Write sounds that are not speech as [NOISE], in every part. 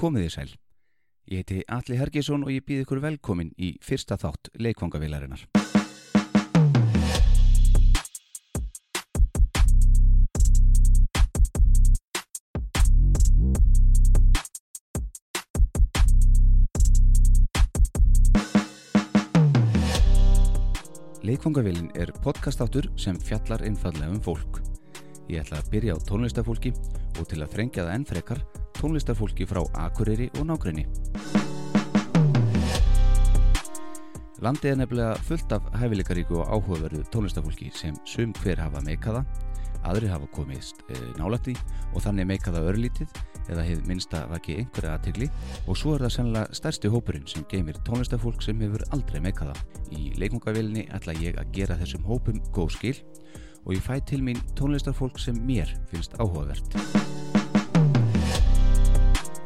Komið þið sæl. Ég heiti Alli Hergesson og ég býð ykkur velkomin í fyrsta þátt leikvangavilarinnar. Leikvangavillin er podcastáttur sem fjallar einfallega um fólk. Ég ætla að byrja á tónlistafólki og til að þrengja það enn frekar tónlistarfólki frá Akureyri og nágrinni. Landið er nefnilega fullt af hæfileikaríku og áhugaverðu tónlistarfólki sem sum hver hafa meikaða, aðri hafa komist e, nálætti og þannig meikaða örlítið eða hefð minnsta vaki einhverja aðtegli og svo er það sennilega stærsti hópurinn sem geymir tónlistarfólk sem hefur aldrei meikaða. Í leikmungavilni ætla ég að gera þessum hópum góð skil og ég fæ til mín tónlistarfólk sem mér finnst áhugavert.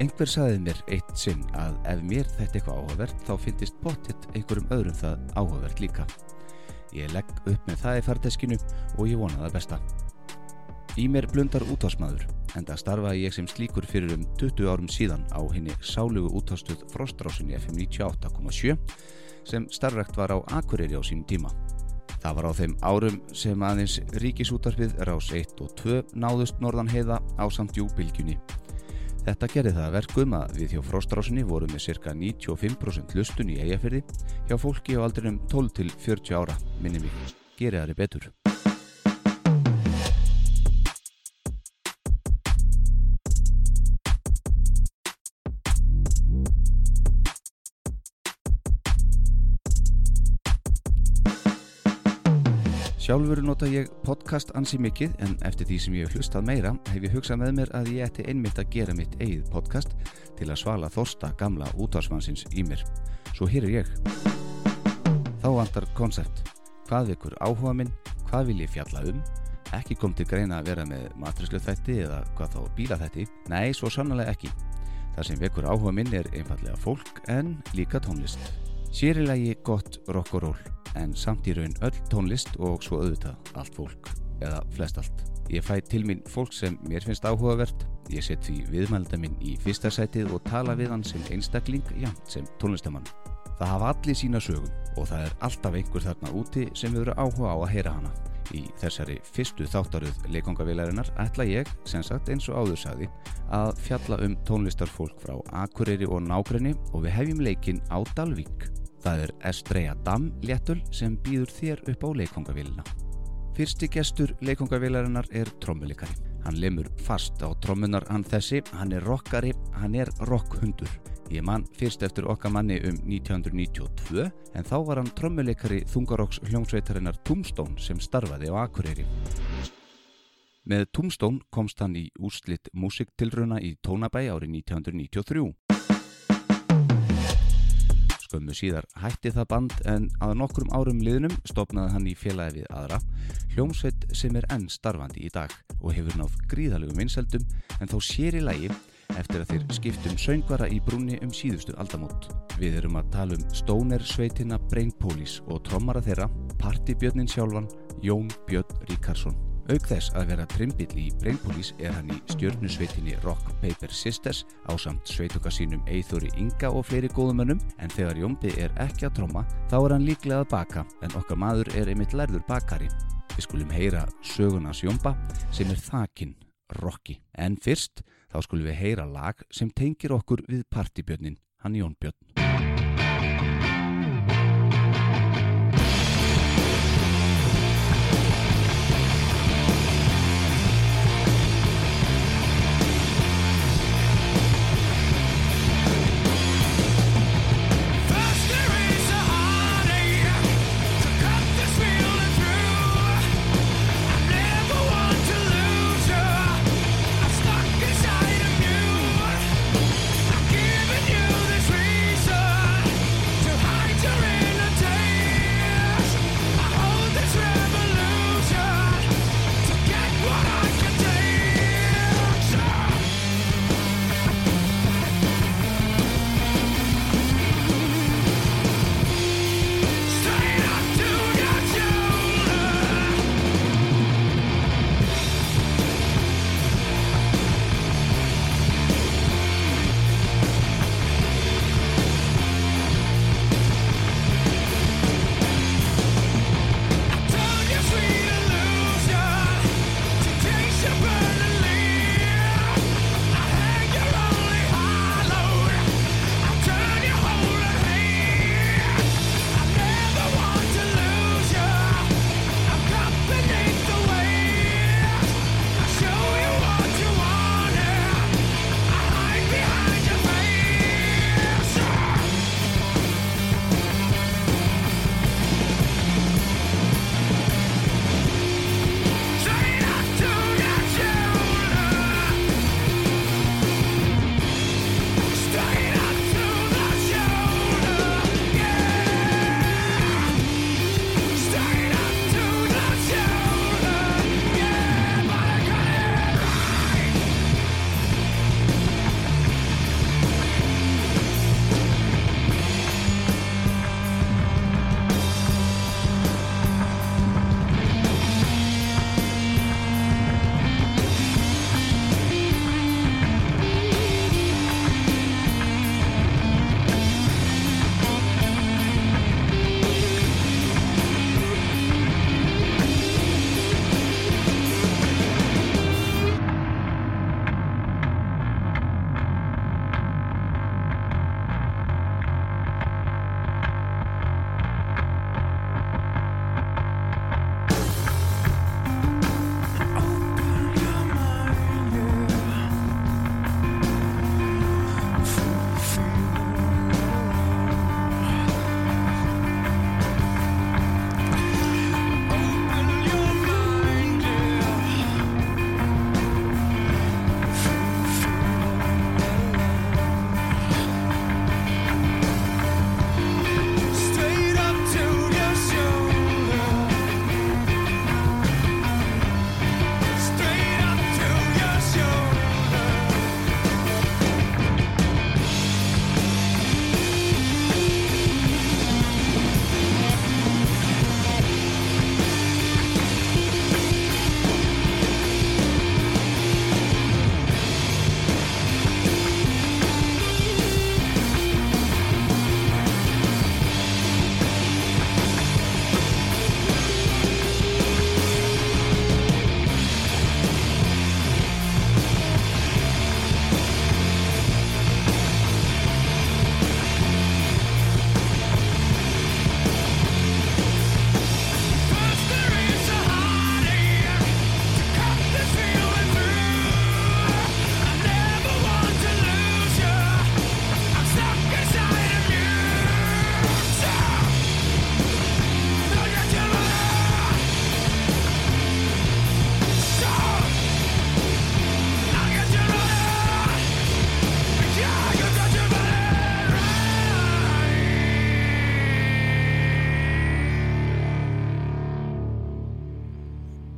Einhver saði mér eitt sinn að ef mér þetta eitthvað áhugavert þá finnist pottitt einhverjum öðrum það áhugavert líka. Ég legg upp með það í fardeskinu og ég vona það besta. Í mér blundar útásmaður, enda starfaði ég sem slíkur fyrir um 20 árum síðan á henni sálugu útástuð Frostrásinni FM 98.7 sem starfrekt var á Akureyri á sínum tíma. Það var á þeim árum sem aðeins ríkisútarfið rás 1 og 2 náðust norðan heiða á samt júbylgjunni Þetta gerði það að verkum að við hjá Frostrásinni vorum með cirka 95% lustun í eigafyrði hjá fólki á aldrinum 12 til 40 ára, minni mig. Gerið það er betur. Sjálfur nota ég podcast ansi mikið en eftir því sem ég hef hlustað meira hef ég hugsað með mér að ég ætti einmitt að gera mitt eigið podcast til að svala þorsta gamla útvarsmannsins í mér. Svo hér er ég. Þá vantar konsept. Hvað vekur áhuga minn? Hvað vil ég fjalla um? Ekki kom til greina að vera með matrislu þætti eða hvað þá bíla þætti? Nei, svo sannlega ekki. Það sem vekur áhuga minn er einfallega fólk en líka tónlist. Sérilegi gott rock og roll, en samt í raun öll tónlist og svo auðvitað allt fólk, eða flest allt. Ég fæ til mín fólk sem mér finnst áhugavert, ég set því viðmælda minn í fyrsta sætið og tala við hann sem einstakling, jæmt sem tónlistamann. Það hafa allir sína sögum og það er alltaf einhver þarna úti sem við verðum áhuga á að heyra hana. Í þessari fyrstu þáttaröð leikongavilarinnar ætla ég, sem sagt eins og áður sagði, að fjalla um tónlistarfólk frá Akureyri og Nágrenni og við hefjum leikinn á Dalvík. Það er Estreia Dam léttul sem býður þér upp á leikongavílina. Fyrsti gestur leikongavílarinnar er trommulikari. Hann lemur fast á trommunar hann þessi, hann er rockari, hann er rockhundur. Ég man fyrst eftir okkar manni um 1992 en þá var hann trommuleikari þungarokks hljómsveitarinnar Tombstone sem starfaði á Akureyri. Með Tombstone komst hann í úrslitt músiktilruna í Tónabæ árið 1993. Skömmu síðar hætti það band en að nokkrum árum liðnum stopnaði hann í félagi við aðra, hljómsveit sem er enn starfandi í dag og hefur náð gríðalögum vinseldum en þá sér í lagi eftir að þeir skiptum söngvara í brúni um síðustu aldamót. Við erum að tala um Stoner sveitina Brain Police og trommara þeirra, partybjörnin sjálfan, Jón Björn Ríkarsson. Auk þess að vera trimbill í Brain Police er hann í stjörnusveitinni Rock Paper Sisters á samt sveituka sínum Eithori Inga og fleiri góðumönnum en þegar Jónbi er ekki að tromma þá er hann líklega að baka en okkar maður er einmitt lærður bakari. Við skulum heyra sögunas Jónba sem er þakinn Rocky. En fyrst þá skulum við heyra lag sem tengir okkur við partybjörnin, hann Jón Björn. First there is a heartache to cut this feeling through. I never want to lose you. I'm stuck inside of you. I'm giving you this reason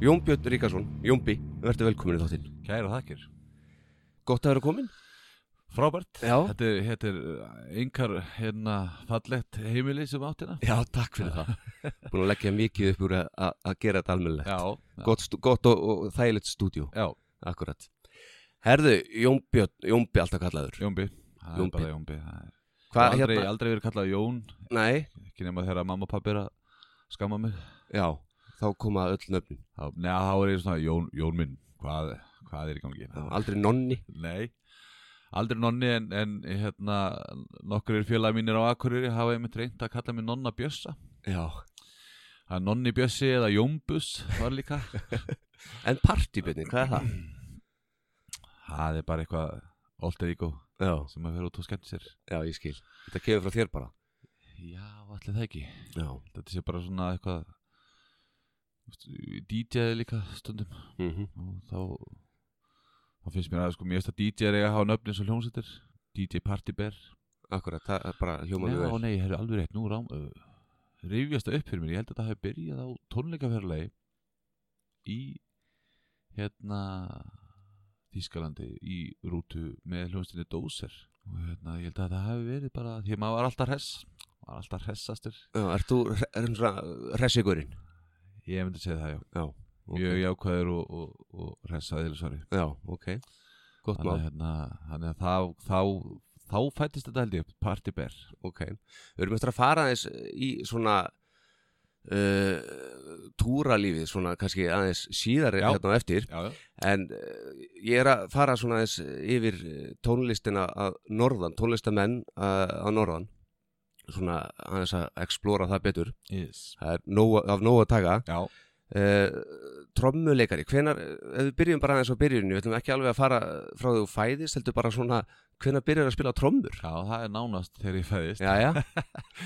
Jón Björn Ríkarsson, Jónbi, verður velkomin í þáttinn Kæra þakkir. Gott að vera komin Frábært. Já. Þetta er, þetta er uh, einkar hérna fallett heimili sem áttina. Já, takk fyrir það [LAUGHS] Búin að leggja mikið upp úr að- að að gera þetta almennilegt Já. Gott, stú- gott og, og þægilegt stúdíu Já, Akkurat Herðu, Jón Björn, Jónbi alltaf kallaður Jónbi. Það er Jónbi. bara Jónbi. Það er- Hvað aldrei, hérna? aldrei verið kallað Jón, Nei, ekki nema þegar mamma og pappi er að skamma mig. já, þá koma öll nöfnin Þá, neða, þá er ég svona Jón, Jón minn, hvað, hvað er í gangi? Já, Aldrei nonni Nei, aldrei nonni en, en hérna, nokkur félagi mínir á Akureyri hafa einmitt reynd að kalla mig nonna Bjössa. Já Það er nonni Bjössi eða Jónbus var líka. [LAUGHS] En partybyrni, hvað er það? það er bara eitthvað alter ego Já, sem að vera út og skemmt sér. já, ég skil Þetta kemur frá þér bara Já, allir það ekki. Já, Þetta sé bara svona eitthvað, DJ líka stundum mm og þá, þá finnst mér að sko, mér finnst að DJ er eiga að hafa nöfnins og hljómsættir. DJ Party Bear. akkurat, það er bara hljóma mjög Já, vel nei, það er alveg rétt, nú rám uh, rifjast það upp fyrir mér, ég held að þetta hafi byrjað á tónleikaferðarlegi í hérna Þískalandi í rútu með hljómsdýni Dóser og hérna, ég held að það hafi verið bara því að maður var alltaf hress, var alltaf hressastur Já, ert þú hressigurinn? ég myndi segja það, já, Já, mjög jákvæður og, og, og hressaðil, sorry Já, ok Gott þannig að, mál, hérna, þannig að þá, þá, þá fættist þetta held ég, party bear ok Við erum eftir að fara aðeins í svona uh, túralífið svona kannski aðeins síðar Já. hérna á eftir já, já, en uh, ég er að fara svona aðeins yfir eh, tónlistina að norðan, tónlistamenn eh, að, að norðan svona aðeins að explora það betur yes. það er nóa, af nóg að taka já. uh, trommuleikari, hvenar ef við byrjum bara aðeins á byrjunni, við ætlum ekki alveg að fara frá því þú fæðist, heldur bara svona hvenar byrjar að spila trommur já, það er nánast þegar ég fæðist Jæja, [LAUGHS]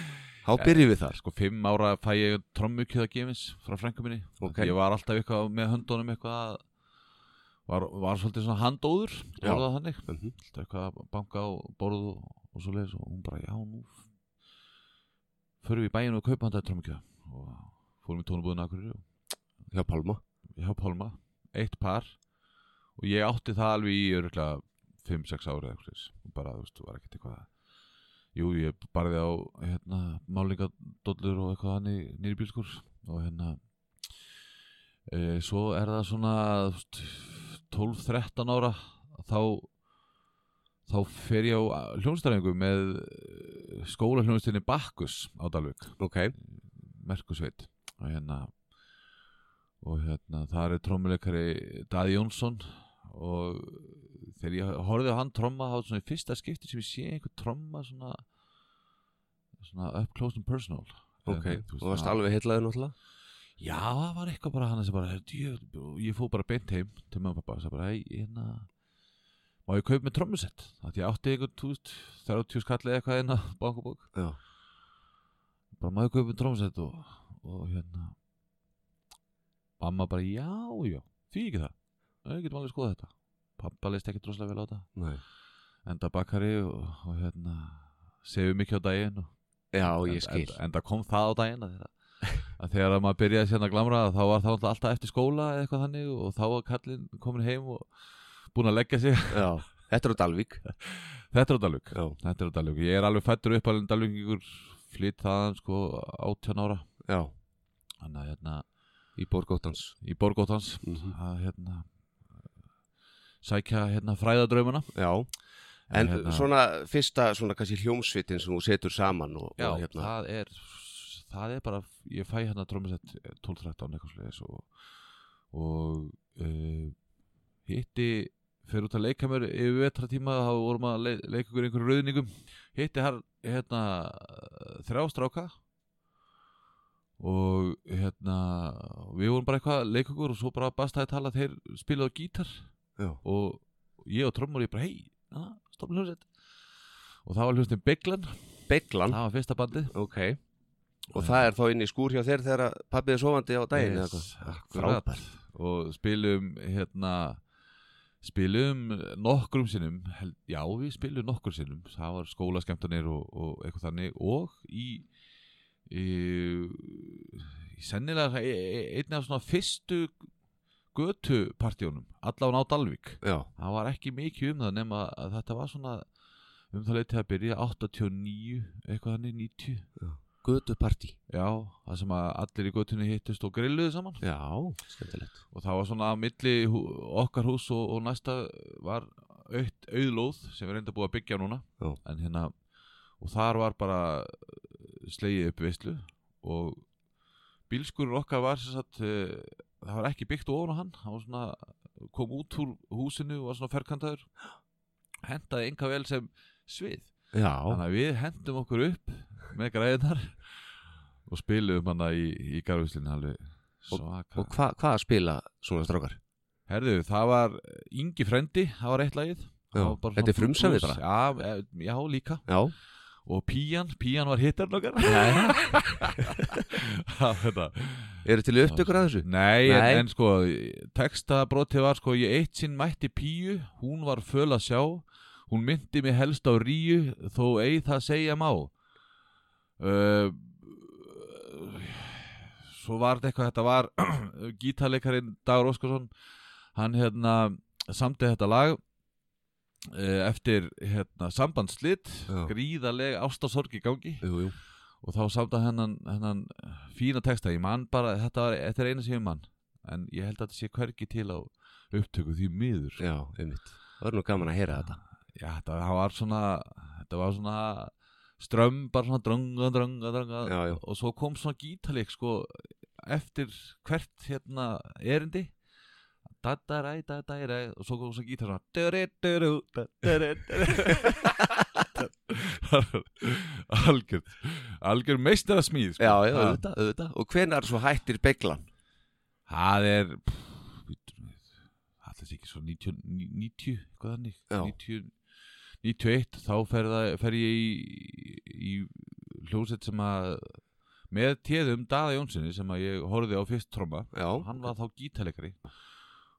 þá byrjum við þar sko fimm ára fæ ég trommukjöða gefins frá frænku minni Ok. ég var alltaf eitthvað með höndunum eitthvað að- var, var svolítið svona handóður Já. orðað þannig, Mhm. alltaf eitthvað að banka á borð og, og svo leiðis og hún bara já nú f- förum við í bæinu og kaupa hann þetta trommukjöða og fórum í tónubúðin akkurir og hjá Palma hjá Pálma, eitt par og ég átti það alveg í örgulega 5-6 ára eða eitthvað og bara, þú veist, var ekkert eitthvað Jú, ég barði á hérna, málingadollur og eitthvað hann í nýri bílskur og hérna e, svo er það svona þú veist, 12-13 ára þá þá fer ég á hljónstæringu með skóla hljónstinni Bakkus á Dalvik Ok, Merkusveit og hérna og hérna þar er trommuleikari Daði Jónsson og þegar ég horfði á hann tromma þá var svona í fyrsta skipti sem ég sé einhver tromma svona svona up close and personal ok, Eða, þú veist, þú varst svona- alveg heitlaður náttúrulega Já, það var eitthvað bara hann sem bara, "Heyrðu, djöfull," og ég fór bara beint heim til mamma og pappa og sagði bara, hei, hérna, má ég kaupa með trommusett? Það því ég átti einhvern, þú veist, 30 skallið eitthvað inn á bankabók. Já. Bara má ég kaupa með trommusett og, og hérna, mamma bara, já, já, því ekki það. Við getum alveg skoða þetta. Pappa leist ekki droslega vel á þetta. Nei. Enda bakari og, og hérna, sefur mikið á daginn og Já, En- ég skil en, en það kom það á daginn að þegar, að þegar að maður byrjaði sérna að glamra þá var það náttúrulega alltaf eftir skóla eða eitthvað þannig og þá var kallinn komin heim og búin að leggja sig [LAUGHS] Já, þetta er á Dalvík þetta er á Dalvík Já, þetta er á Dalvík ég er alveg fættur upp alveg Dalvíkingur flytt þaðan sko 18 ára já, þannig að hérna í Borgóttans í Borgóttans Mhm. að hérna sækja hérna fræðadraumuna Já, en hérna- svona fyrsta svona kannski hljómsvitin sem þú setur saman og, Já, og hérna það er það er bara, ég fæ hérna trómusett 12-13 eitthvað sliðis og, og uh, hitti fyrir út að leika mér yfir vetratíma þá vorum að le leika ykkur einhverju rauðningum hitti hann hérna eh, þrjá stráka og hérna við vorum bara eitthvað að leika ykkur og svo bara bastaði tala þeir spilaðu á gítar Já, og ég og trommur ég bara hei, stoppa hljómsett og það var hljómsveitin Beglan Beglan, það var fyrsta bandið ok Og það er þá inn í skúr hjá þér þegar að pabbið er sofandi á daginn eða Yes, eitthvað? akkurat. og spilum hérna spilum nokkrum sinnum hel, já við spilum nokkrum sinnum það var skólaskemtanir og, og eitthvað þannig og í, í, í sennilega e- e- einn af svona fyrstu götupartíunum allan á Dalvík já, það var ekki mikið um það nema að þetta var svona um það leiti að byrja 89, eitthvað þannig 90 Götu partí já, það sem að allir í götunni hittust og grilluðu saman Já, skemmtilegt og það var svona að milli hú- okkar hús og, og næsta var aukt auðlóð sem við reynda búið að byggja núna Já. en hérna og þar var bara eh, slegið upp veislu og bílskurur okkar var sem sagt eh, það var ekki byggt ofan á hann hann var svona kom út úr húsinu og var svona ferkantaður hendaði enga vel sem svið Já, þannig að við hendum okkur upp með græðinar og spilum hana í, í garfislinu alveg svaka og hva, hvað spila svona strákar? Herðu, það var Ingi Frendi, það var eitt lagið Já, Það var bara þetta er svona frumsamið blues. Já, e- já, líka Já, Og Pían, Pían var hittarn okkar [LAUGHS] Þetta eru til upptökur að þessu? Nei, Nei. En, en sko, textabrótið var sko Ég eitt sinn mætti Píu, hún var föl að sjá Hún myndi mig helst á Ríu Þó eigi það segja má uh, Svo var þetta eitthvað Þetta var [CLEARS THROAT] gítarleikarinn Dagur Óskarsson Hann hérna samti þetta lag uh, Eftir hérna, sambandslit Já. Gríðaleg ástasorg í gangi Jú, jú og þá samta hennan, hennan fína texta, ég man bara þetta, var, þetta er eina sem ég man en ég held að þetta sé hvergi til á upptöku því miður sko. Ah, Já, einmitt Það var nú gaman að heyra þetta já, þetta það var svona þetta var svona strömm bara svona drönga, drönga, drönga Já, já. og svo kom svona gítaleg sko eftir hvert hérna erindi dadaræ, dadaræ og svo kom svona gítar svona dörri, dörru, dörri, dörri [LAUGHS] algjör algjör sko. meistar að smíð Já, já, auðvitað, auðvitað Og hvenær svo hættir beglan? Það er Alltaf ekki svo 90, 90 eitthvað þannig Já. 90, 91 þá fer, það, fer ég í, í hljóset sem að með téðum Daða Jónssoni sem að ég horfði á fyrst tromma Já, hann var þá gítalekari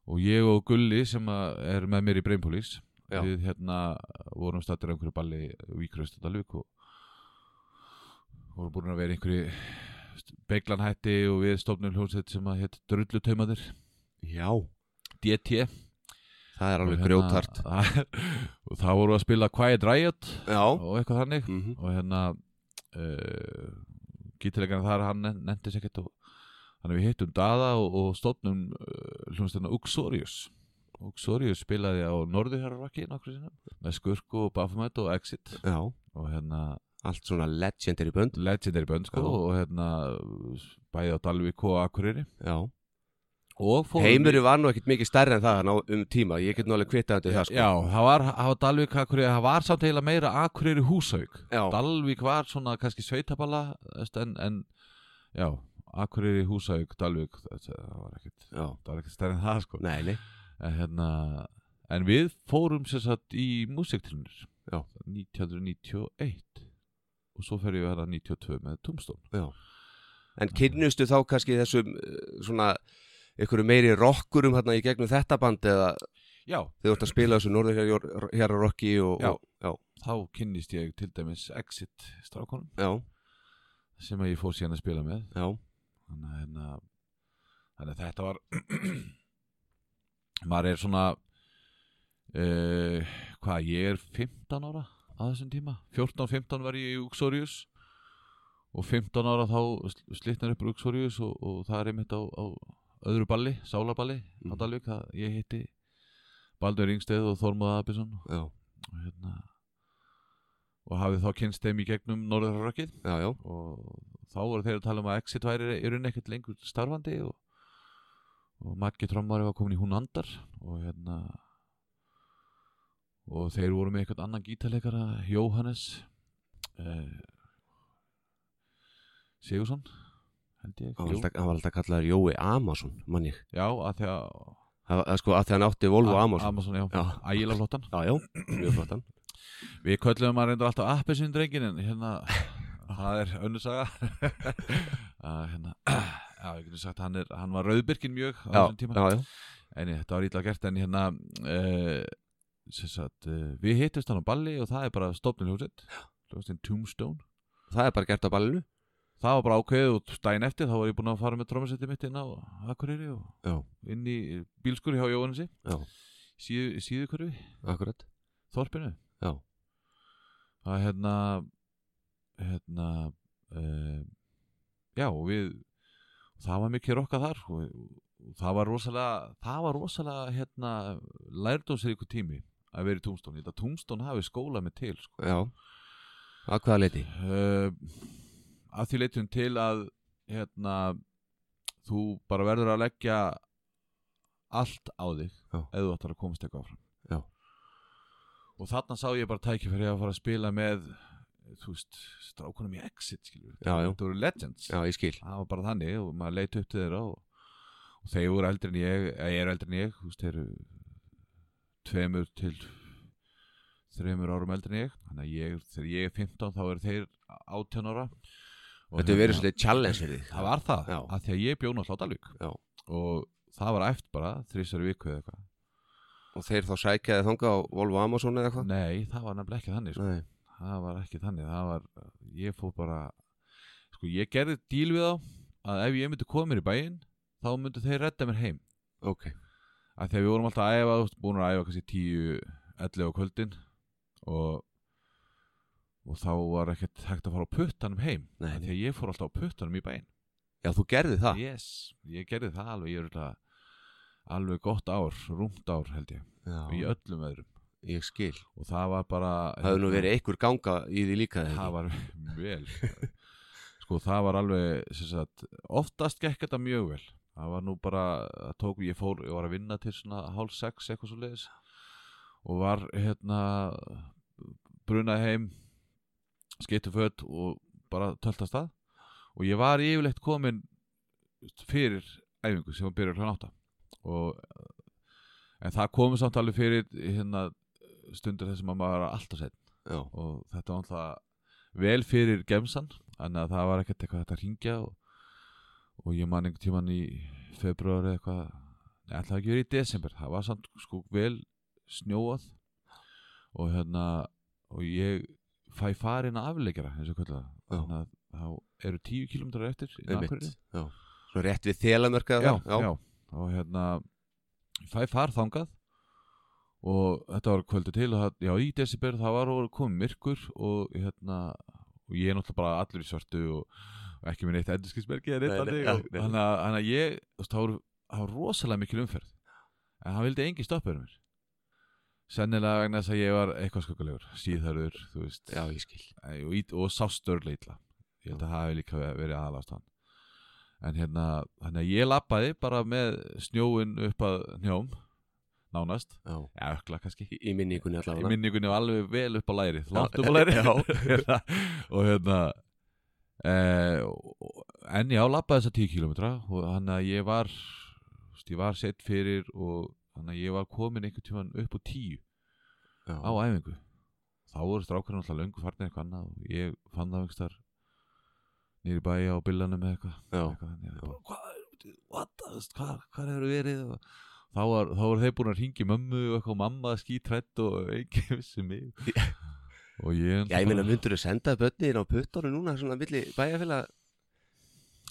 og ég og Gulli sem að er með mér í Brainpolis Já. við hérna vorum stættir á einhverju balli Víkraust og Dalvík og vorum búin að vera í einhverju beglanhætti og við stofnum hljónsett sem að hétt Drullutaumadir já DT Það Og er alveg hérna- grjótart [LAUGHS] og þá vorum við að spila Quiet Riot Já og eitthvað þannig mhm. og hérna uh, gítilegan þar hann nefndi sér ekkert og þannig við hittum Dada og, og stofnum uh, hljómsdana Uxorius Uxorius spilaði á Norðuhjárrakki nokkru sinna með Skurku og Baphomet og Exit Já, og hérna allt svona legendary bönd legendary bönd sko Já. og hérna bæði á Dalvík og Akureyri Já og fórum Heimurinn var nú ekkert mikið stærri en það ná, um tíma Ég get nú alveg kvittað undir það sko Já, það var, það var Dalvík Akureyri, það var samt eiginlega meira Akureyri húsauk já, Dalvík var svona kannski sveitabala veist, en, en já, Akureyri, Húsavík, Dalvík þetta- það var ekkert, já. það var ekkert stærri en það sko Nei, nei en, hérna, en við fórum sér satt í músiktilunir Já. 1991 og svo fer ég að 92 með Tombstone En kynnustu þá kannski þessum eh, svona einhverju meiri rockurum hérna í gegnum þetta band eða Já, þið voru að spila þessu norður hér rocki og, Já. og já, þá kynnist ég til dæmis Exit strákonum já, sem að ég fór síðan að spila með já, þannig að, hérna, þannig að þetta var [CLEARS THROAT] maður er svona uh, hvað, ég er 15 ára að þessum tíma 14-15 var ég í Uxorius og 15 ára þá sl- slitnar upp úr Uxorius og, og það er einmitt á, á öðru balli, sálaballi á Mhm. Dalvik, að ég hitti Baldur Yngsteð og Þormóð Abisson já, og hérna og hafið þá kynst þeim í gegnum Norðurrökkið já, já, og þá voru þeir að tala um að Exit væri í rauninni ekkert lengur starfandi og, og Maggi Trommari var komin í hún andar og hérna og þeir voru með eitthvað annan gítarleikara Jóhannes eh, Sigursson held ég hann var Jú. alltaf, hann var alltaf kallaður Jói Amazon, mann ég, já, að því að það var- sko að því hann átti Volvo Amazon, Amazon já, já, ægilega flottan já, já, mjög flottan, við köllum að reynda alltaf appisinn drengin en hérna, það er önnusaga [LAUGHS] að hérna [CLEARS THROAT] já, ég getur sagt, hann, er, hann var rauðbyrkin mjög á já, þessum tíma já, já, En ég, þetta var ítla gert en hérna uh, sagt, uh, við hittist hann á balli og það er bara stofnun hljóðsett hljóðsett Tombstone það er bara gert á ballinu, það var bara ákveðið og daginn eftir þá var ég búinn að fara með trómasetti mitt inn á Akureyri og Já. inn í bílskur hjá Jóhannessi Já. síðu, síðu hverfi, akkurat þorpinu Já. það er hérna hérna um, já og við það var mikið rokka þar og, og það var rosalega það var rosalega hérna lærdósir ykkur tími að vera í Tungstón ég held að Tungstón hafi skóla með til sko. Já, að hvaða leiti? uh, að því leitum til að hérna, þú bara verður að leggja allt á þig Já. ef þú ætlar að komast eitthvað áfram Já. og þarna sá ég bara tækifæri að fara að spila með þú veist, strákunum í Exit skilur, Já, já. þetta voru Legends Já, ég skil það var bara þannig og maður leit upp til þeirra og, og þeir voru eldri en ég eða ég er eldri en ég, þú veist, þeir eru tveimur til þreimur árum eldri en ég þannig að ég, þegar ég er 15 þá eru þeir 18 ára Og Þetta hefur verið hérna- svolítið challenge fyrir þig það var það, Já. að því að ég bjóna á Hlátalvík Já. og það var æft bara þrísari viku eða eitthvað, Og þeir þá sækjaði þanga á Volvo Amazon eða eitthvað? nei það var nefnilega ekki þannig sko. Nei það var ekki þannig það var, ég fór bara sko ég gerði díl við þá að ef ég myndi koma mér í bæinn þá myndu þeir redda mér heim Ok að þegar við vorum alltaf að æfa þú veist, búin að æfa kannski 10, 11 á kvöldin og og þá var ekkert hægt að fara á puttanum heim Nei, Af því að ég fór alltaf á puttanum í bæinn Já, þú gerði það? yes, ég gerði það alveg ég er alltaf alveg gott ár, rúmt ár held ég í Já, öllum öðrum ég skil og það var bara hérna, Það hefur nú verið einhver ganga í því líka þegar það var vel sko það var alveg sem sagt, oftast gekk þetta mjög vel það var nú bara, það tók ég fór ég var að vinna til svona hálf sex eitthvað svo leiðis og var hérna brunað heim skeytu fött og bara tölta stað og ég var yfirleitt komin fyrir æfingu sem var byrjað hljóðan átta og eh, en það komið samt alveg fyrir hérna stundur þessum að maður var alltaf sett Já, og þetta var alltaf vel fyrir gemsan þannig að það var ekkert eitthvað hægt að ringja og, og ég man einhvern tíman í februari eitthvað nei, það var ekki verið í desember, það var samt sko vel snjóað og hérna og ég fæ farin að afleikjara eins og kvölda Já. þannig að þá eru tíu kilómetrar eftir í einmitt Akureyri. Já Svo rétt við þelamörka já, já. og hérna ég fæ far þangað og þetta var kvöldu til og það, já, í desember það var orðið komið myrkur og hérna og ég er náttúrulega bara allur í svörtu og, og ekki minn eitt endurskilsmerki eða neitt Nei, þannig nei, já, og nei. þannig að- þannig að ég þú veist, það voru- það var rosalega mikil umferð en hann vildi engi stoppaður mér sennilega vegna þess að ég var eitthvað skokkulegur síðarur, þú veist Já, ég skil Æ, og, ít- og sást örlega illa ég held að það hefði líka verið aðalastan en hérna, þannig að ég lappaði bara með snjóin upp að njóm nánast, Já eða ökla kannski Í, í minningunni í allavega minningunni var alveg vel upp á læri langt upp á [LAUGHS] læri [LAUGHS] Hérna, og hérna eh, og- en já, lappaði þessa 10 kilometra og þannig að ég var þú veist, ég var sett fyrir og þannig að ég var komin einhvern tímann upp á 10 á Já, æfingu þá voru strákurinn alltaf löngu farnir eitthvað annað og ég fann það einhvers þar nýri bæja á billanum eða eitthvað Já. eitthvað þannig. Ég bara, hvað, er- what, the- þú veist, hvað, hvað hefur verið og þá var, þá var þeir búin að ringi mömmu og eitthvað og mamma skítrætt og ekki [LAUGHS] vissi mig og ég já ég meina, myndur þú senda börnin á puttónu núna svona milli bæjarfélag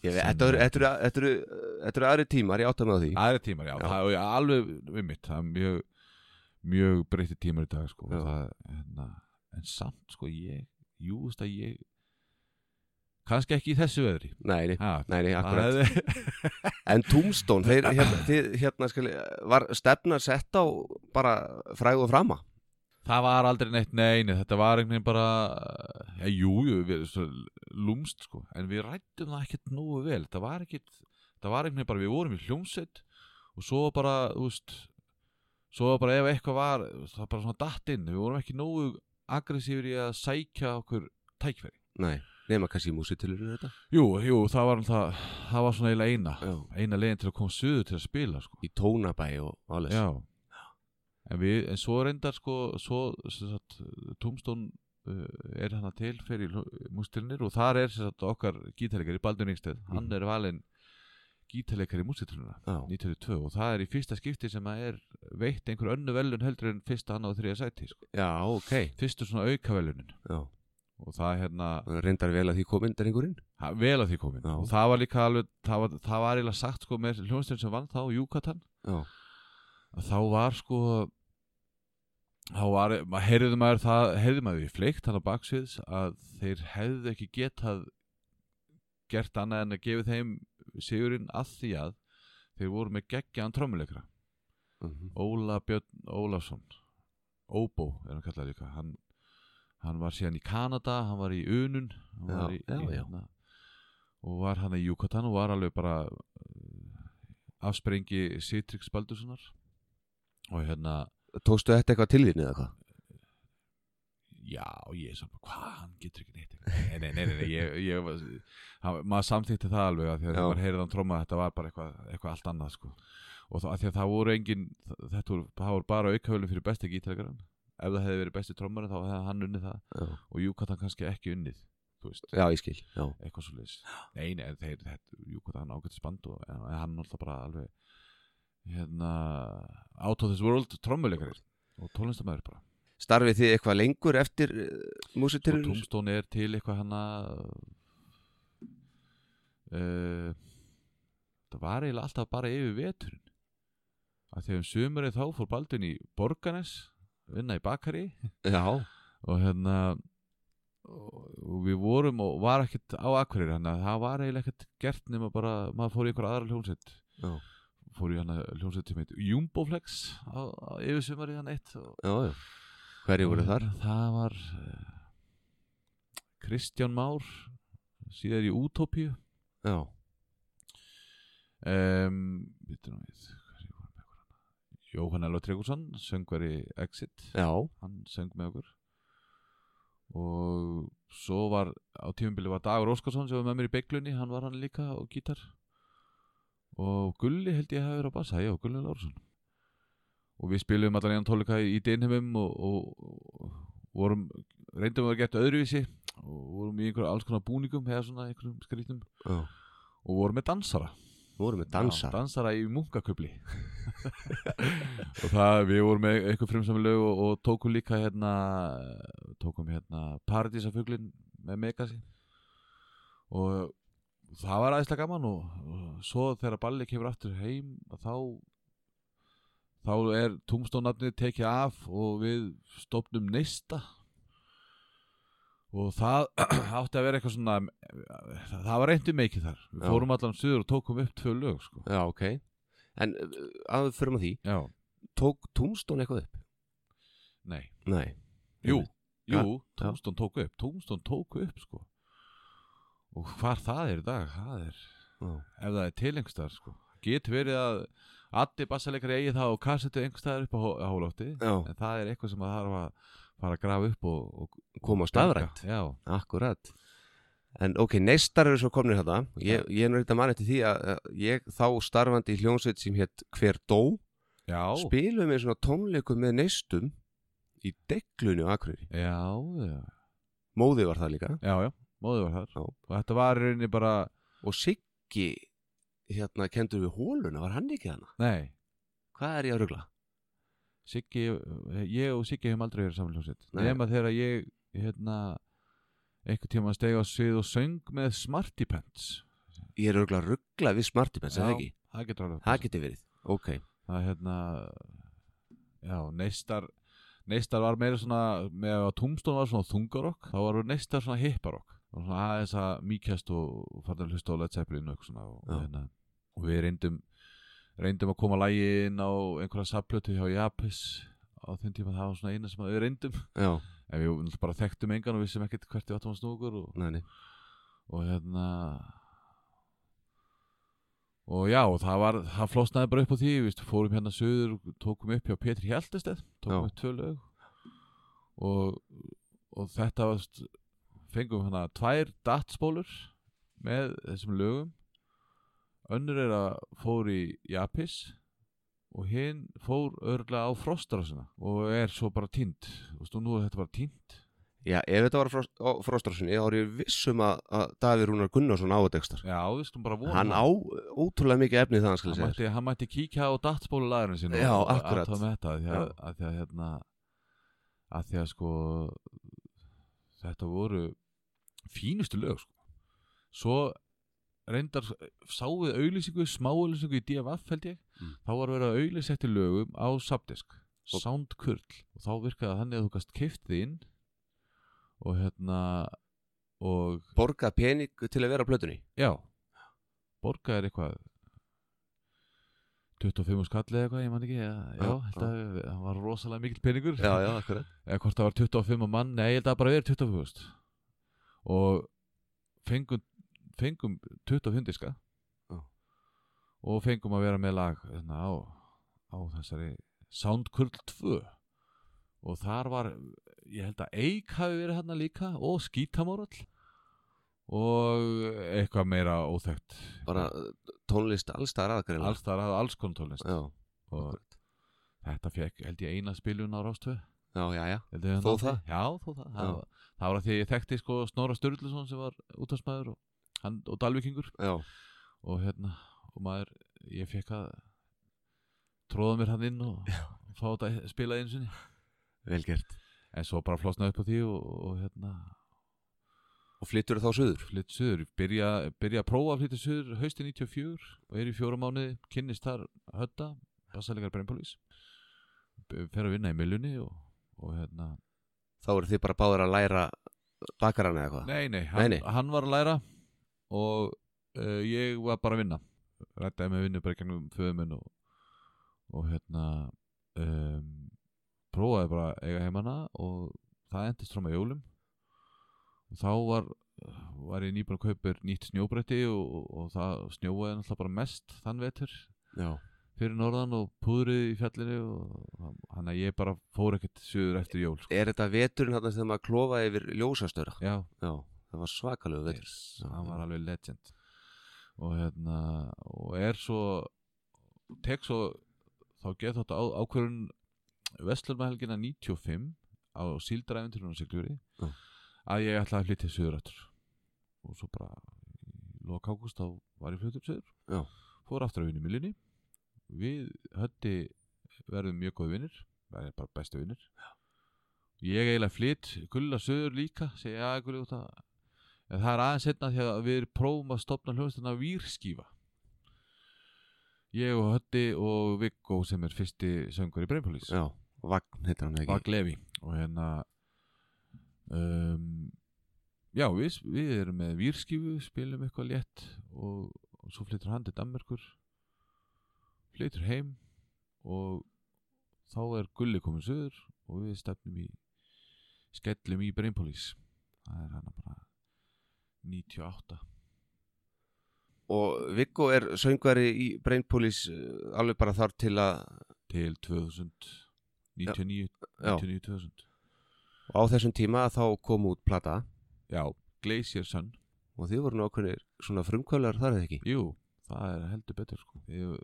Ég veit, þetta eru- þetta eru þetta eru- þetta eru aðri tímar, ég átta mig á því aðri tímar, já, Já. það er alveg við mitt, það er mjög mjög breytti tímar í dag sko, Já. og það, hérna, en samt sko ég, jú, þú veist að ég kannski ekki í þessu veðri Nei, nei, ha, nei, nei það akkurat hefði En Tombstone, þeir, hérna, þið, hérna skil, var stefna sett á bara fræg og frama Það var aldrei neitt neini, þetta var einhvern veginn bara, já, jú, jú, við, svo, lúmst sko, en við rættum það ekkert nógu vel, það var ekkert, það var einhvern veginn bara, við vorum í hljómsveit og svo bara, þú veist, svo bara ef eitthvað var, þú veist, það var bara svona datt inn, við vorum ekki nógu aggressífur í að sækja okkur tækveri. Nei, nema kannski músitilurinn þetta Jú, jú, það var, það, það var svona eiginlega eina, Já. eina leiðin til að koma suður til að spila sko. Í tónabæ og álega Já En, við, en svo reyndar sko svo, sem sagt, Tómstón uh, er hana til fyrir mústirinir og þar er sem sagt, okkar gítarleikari Baldur Ringsteð, hann er valinn gítarleikari mústirinina Já, 1902 og það er í fyrsta skipti sem að er veitt einhver önnu velun heldur en fyrsta, annað og þriða sæti sko. já ok fyrstu svona auka velunin Já, og það hérna Reyndar vel að því kominn drengurinn ha, vel að því komin Já. og það var líka alveg það var, það var eiginlega sagt sko með hljónstjörn sem vann þá Júkatan Já, að þá var sko þá var, maður heyrði maður það, heyrði maður í fleikt hann á baksviðs að þeir hefðu ekki getað gert annað en að gefa þeim sigurinn að því að þeir voru með geggjaðan trommuleikra Mhm. Óla Björn Ólafsson Óbó er hann kallað líka hann, hann var síðan í Kanada hann var í Unun hann Já, var í, já, í, já. hérna, og var hann í Júkatan og var alveg bara uh, afsprengi Sitrix Baldurssonar og hérna Tókstu þetta eitthvað til þín eða hvað? já, ég er saman, hvað, hann getur ekki neitt nei, nei, nei, nei, nei ég, ég var, hann, maður samþýtti það alveg að því að Já. þegar maður heyrði hann tróma þetta var bara eitthvað, eitthvað allt annað sko. og þá, að því að það voru engin þetta voru, það voru bara aukahöflum fyrir besti gítarleikaran ef það hefði verið besti trómari þá hefði hann unnið það Já, og Júkatan kannski ekki unnið þú veist, já ég skil Já, eitthvað svo leis nei, nei, en þeir, þetta, Júkatan ágættis band og en, en hann alltaf bara alveg hérna, out of this world trómuleikarir og tónlistamæður bara Starfið þið eitthvað lengur eftir uh, sko, músitilur? Tombstone er til eitthvað hérna, hana uh, það var eiginlega alltaf bara yfir veturinn að þegar um sömurinn þá fór Baldvin í Borganes vinna í Bakari Já, og hérna og og við vorum og var ekkert á Akureyri hann að það var eiginlega ekkert gert nema bara maður fór í einhver aðra hljónsett já, fór í hann að hljónsett sem heit Jumboflex á, á yfir sömurinn hann eitt og já, já. Hverju voru þar? Það var eh, Kristján Már síðar í Utopíu Já, um, Vittu nú við hverju voru með okkur hana? Jóhann Elva Tryggvason söngveri Exit já, hann söng með okkur og svo var á tímumbili var Dagur Óskarsson sem var með mér í beiglunni, hann var hann líka og gítar og Gulli held ég hafi verið á bassa, já, Gulli Lárusson og við spilum allan einn tólika í Dinheimum og, og, og vorum, reyndum að geta öðruvísi og vorum í einhverju alls konar búningum eða svona einhverjum skrýtnum já og vorum með dansara Voru með dansar Já, dansara í munkaköfli [LAUGHS] og það, við vorum með eitthvað frumsami lög og, og tókum líka hérna, tókum hérna Paradísafuglin með Megasi og það var aðeinslega gaman og, og svo þegar balli kemur aftur heim að þá þá er tungstónafnið tekið af og við stopnum neista og það [CLEARS THROAT] átti að vera eitthvað svona það var reyndum mikið þar við Já. fórum allan suður og tókum upp tvö lög sko. Já, ok En uh, að við förum að því já, Tók Tombstone eitthvað upp? nei Nei Jú, Ja, jú, Tómstón tók upp Tómstón tók upp sko og hvar það er í dag það er, Já, ef það er tilengstar sko. getur verið að allir bassaleikari eigi það og kassetu einhverstaðar upp á, hó- á hólótti já. en það er eitthvað sem það þarf að fara að grafa upp og, og Koma stafrænt Já, Akkurat En ok, neistar eru svo komnir þetta Ég, ég er náttúrulega mann eftir því að að ég þá starfandi í hljónsveit sem hétt Hver dó já, Spilum við svona tónleikum með neistum í deglunni á Akureyri já, já, Móði var það líka já, já móðu var þar Já. og þetta var í rauninni bara, Og Siggi, hérna, kendur við hóluna, var hann ekki hana? nei Hvað er ég að rugla? Siggi, eh, ég og Siggi hefum aldrei verið samanljóðsett Nei. nema þegar ég hérna, einhvern tíma steg á svið og söng með Smarty Pants Ég er örgulega að ruggla við smartibens, eða ekki? það getur alveg Það passað. geti verið. Ok. það er hérna já, neistar neistar var meira svona með að Tombstone var svona þungarokk þá var neistar svona hipparokk og svona aðeins að mýkjast og farnir að hlusta á Led Zeppelin og, eitthvað svona, og, Já. hérna, og við reyndum reyndum að koma lægi inn á einhverja saplötu hjá Japis á þeim tíma það var svona eina sem að við reyndum Já, En við náttúrulega bara þekktum engan og vissum ekkert hvert við áttum að snúkur og, næni. og hérna og já, og það var það flosnaði bara upp á því, við fórum hérna söður, tókum upp hjá Petri Hjaltesteð tókum Já. upp tvö lög og, og þetta var st- fengum hérna tvær datsbólur með þessum lögum önnur er að fór í Japis og hinn fór örglega á frostrásina og er svo bara tínt og stú nú er þetta bara tínt Já, ef þetta var frost, á Frostrasinni, þá er ég vissum að, að Davíð Rúnar Gunnarsson á þetta ekstra. Já, við skulum bara vona Hann á það. ótrúlega mikið efnið það, hann skal hann ég segja. þér. mætti, hann mætti kíkja á datsbólu lagurinn sinu Já, og akkurat. athuga með þetta, að hérna, því að, Já. að því að hérna að því að sko þetta voru fínustu lög sko. svo reyndar sá við auðlýsingu, smá auðlýsingu í DFF held ég, Mm. þá var verið að auðlýsa eftir lögum á Subdisk Og- Soundkurl og þá virkaði þannig að þú gast keift þið inn og hérna og Borga pening til að vera á plötunni Já Borga er eitthvað 25 skallið eitthvað, ég man ekki eða, Já, Já, þetta það var rosalega mikill peningur Já, já, akkurat Eða hvort það var 25 á mann Nei, ég held að það bara verið 25 veist. Og fengum, fengum 25 diska Já. Og fengum að vera með lag hérna, á, á þessari Soundkurl 2 Og þar var Ég held að Eik hafi verið hérna líka Og Skítamórall Og eitthvað meira óþekkt Bara uh, tónlist allstar aðgreina Alls þar hafði alls konar tónlist Já, Og akkurat þetta fekk held ég eina spilun á rástöð Já, já, já Þó Þó það? hérna Já, þó það Já. Það, var, það var að því að ég þekkti sko Snorra Sturluson sem var útastmaður og, hann, og Dalvíkingur Já, og hérna, og maður ég fekk að tróða mér hann inn og og fá þetta að spila einu sinni vel gert en svo bara flosnaði upp á því og, og hérna, Og flyttur þá suður flytt suður Ég byrja, byrja að prófa að flytta suður haustin 94 og er í fjóra mánuði kynnist þar hötta, bassalega brennpólís fer að vinna í miljunni og, og hérna Þá eru þið bara báður að læra bakarana eða hvað Nei, nei, hann, nei. hann var að læra og uh, ég var bara að vinna rættaði með vinnu bara í gegnum föðuminn og, og hérna um, prófaði bara að eiga heimana og það endist fram að jólum og þá var var ég nýbúin að kaupa mér nýtt snjóbretti og, og, og það snjóaði náttúrulega bara mest þann vetur Já, fyrir norðan og púðrið í fjallinu og hann að ég bara fór ekkert suður eftir jól sko. er þetta veturinn þarna þegar maður klofa yfir ljósastöra? Já, Já, það var svakalegu vetur Yes, hann Mm. var alveg legend og hérna og er svo tek svo þá geð þátt á, ákvörun Vestlurmahelgina 95 á síldræfinturinn og sigluri Já. að ég ætlaði að flytja söðurættur og svo bara í lok ágúst þá var ég flyttur söður Já. fór aftur að vinna í miljunni við höndi verðum mjög góði vinnir verðum bara bestu vinnir ég eiginlega flytt gulla söður líka segja að gulli út að En það er aðeins hérna því að við prófum að stopna hljómsdana Výrskífa. Ég og Hötti og Viggo sem er fyrsti söngur í Breinpólís. Já, Vagn heitir hann ekki Vag Levi. Og hérna, um, já við, við erum með Výrskífu, spilum eitthvað létt og, og svo flyttur hann til Danmerkur, flyttur heim og þá er Gulli komin söður og við stefnum í, skellum í Breinpólís. Það er hann bara 98 Og Viggo er söngveri í Brainpolis eh, alveg bara þar til að til 2000 99, Já. 99 2000 á þessum tíma þá kom út plata já, Glacier Sun og þið voru nákvæmlega svona frumkvölar þar eða ekki jú, það er heldur betur sko. ég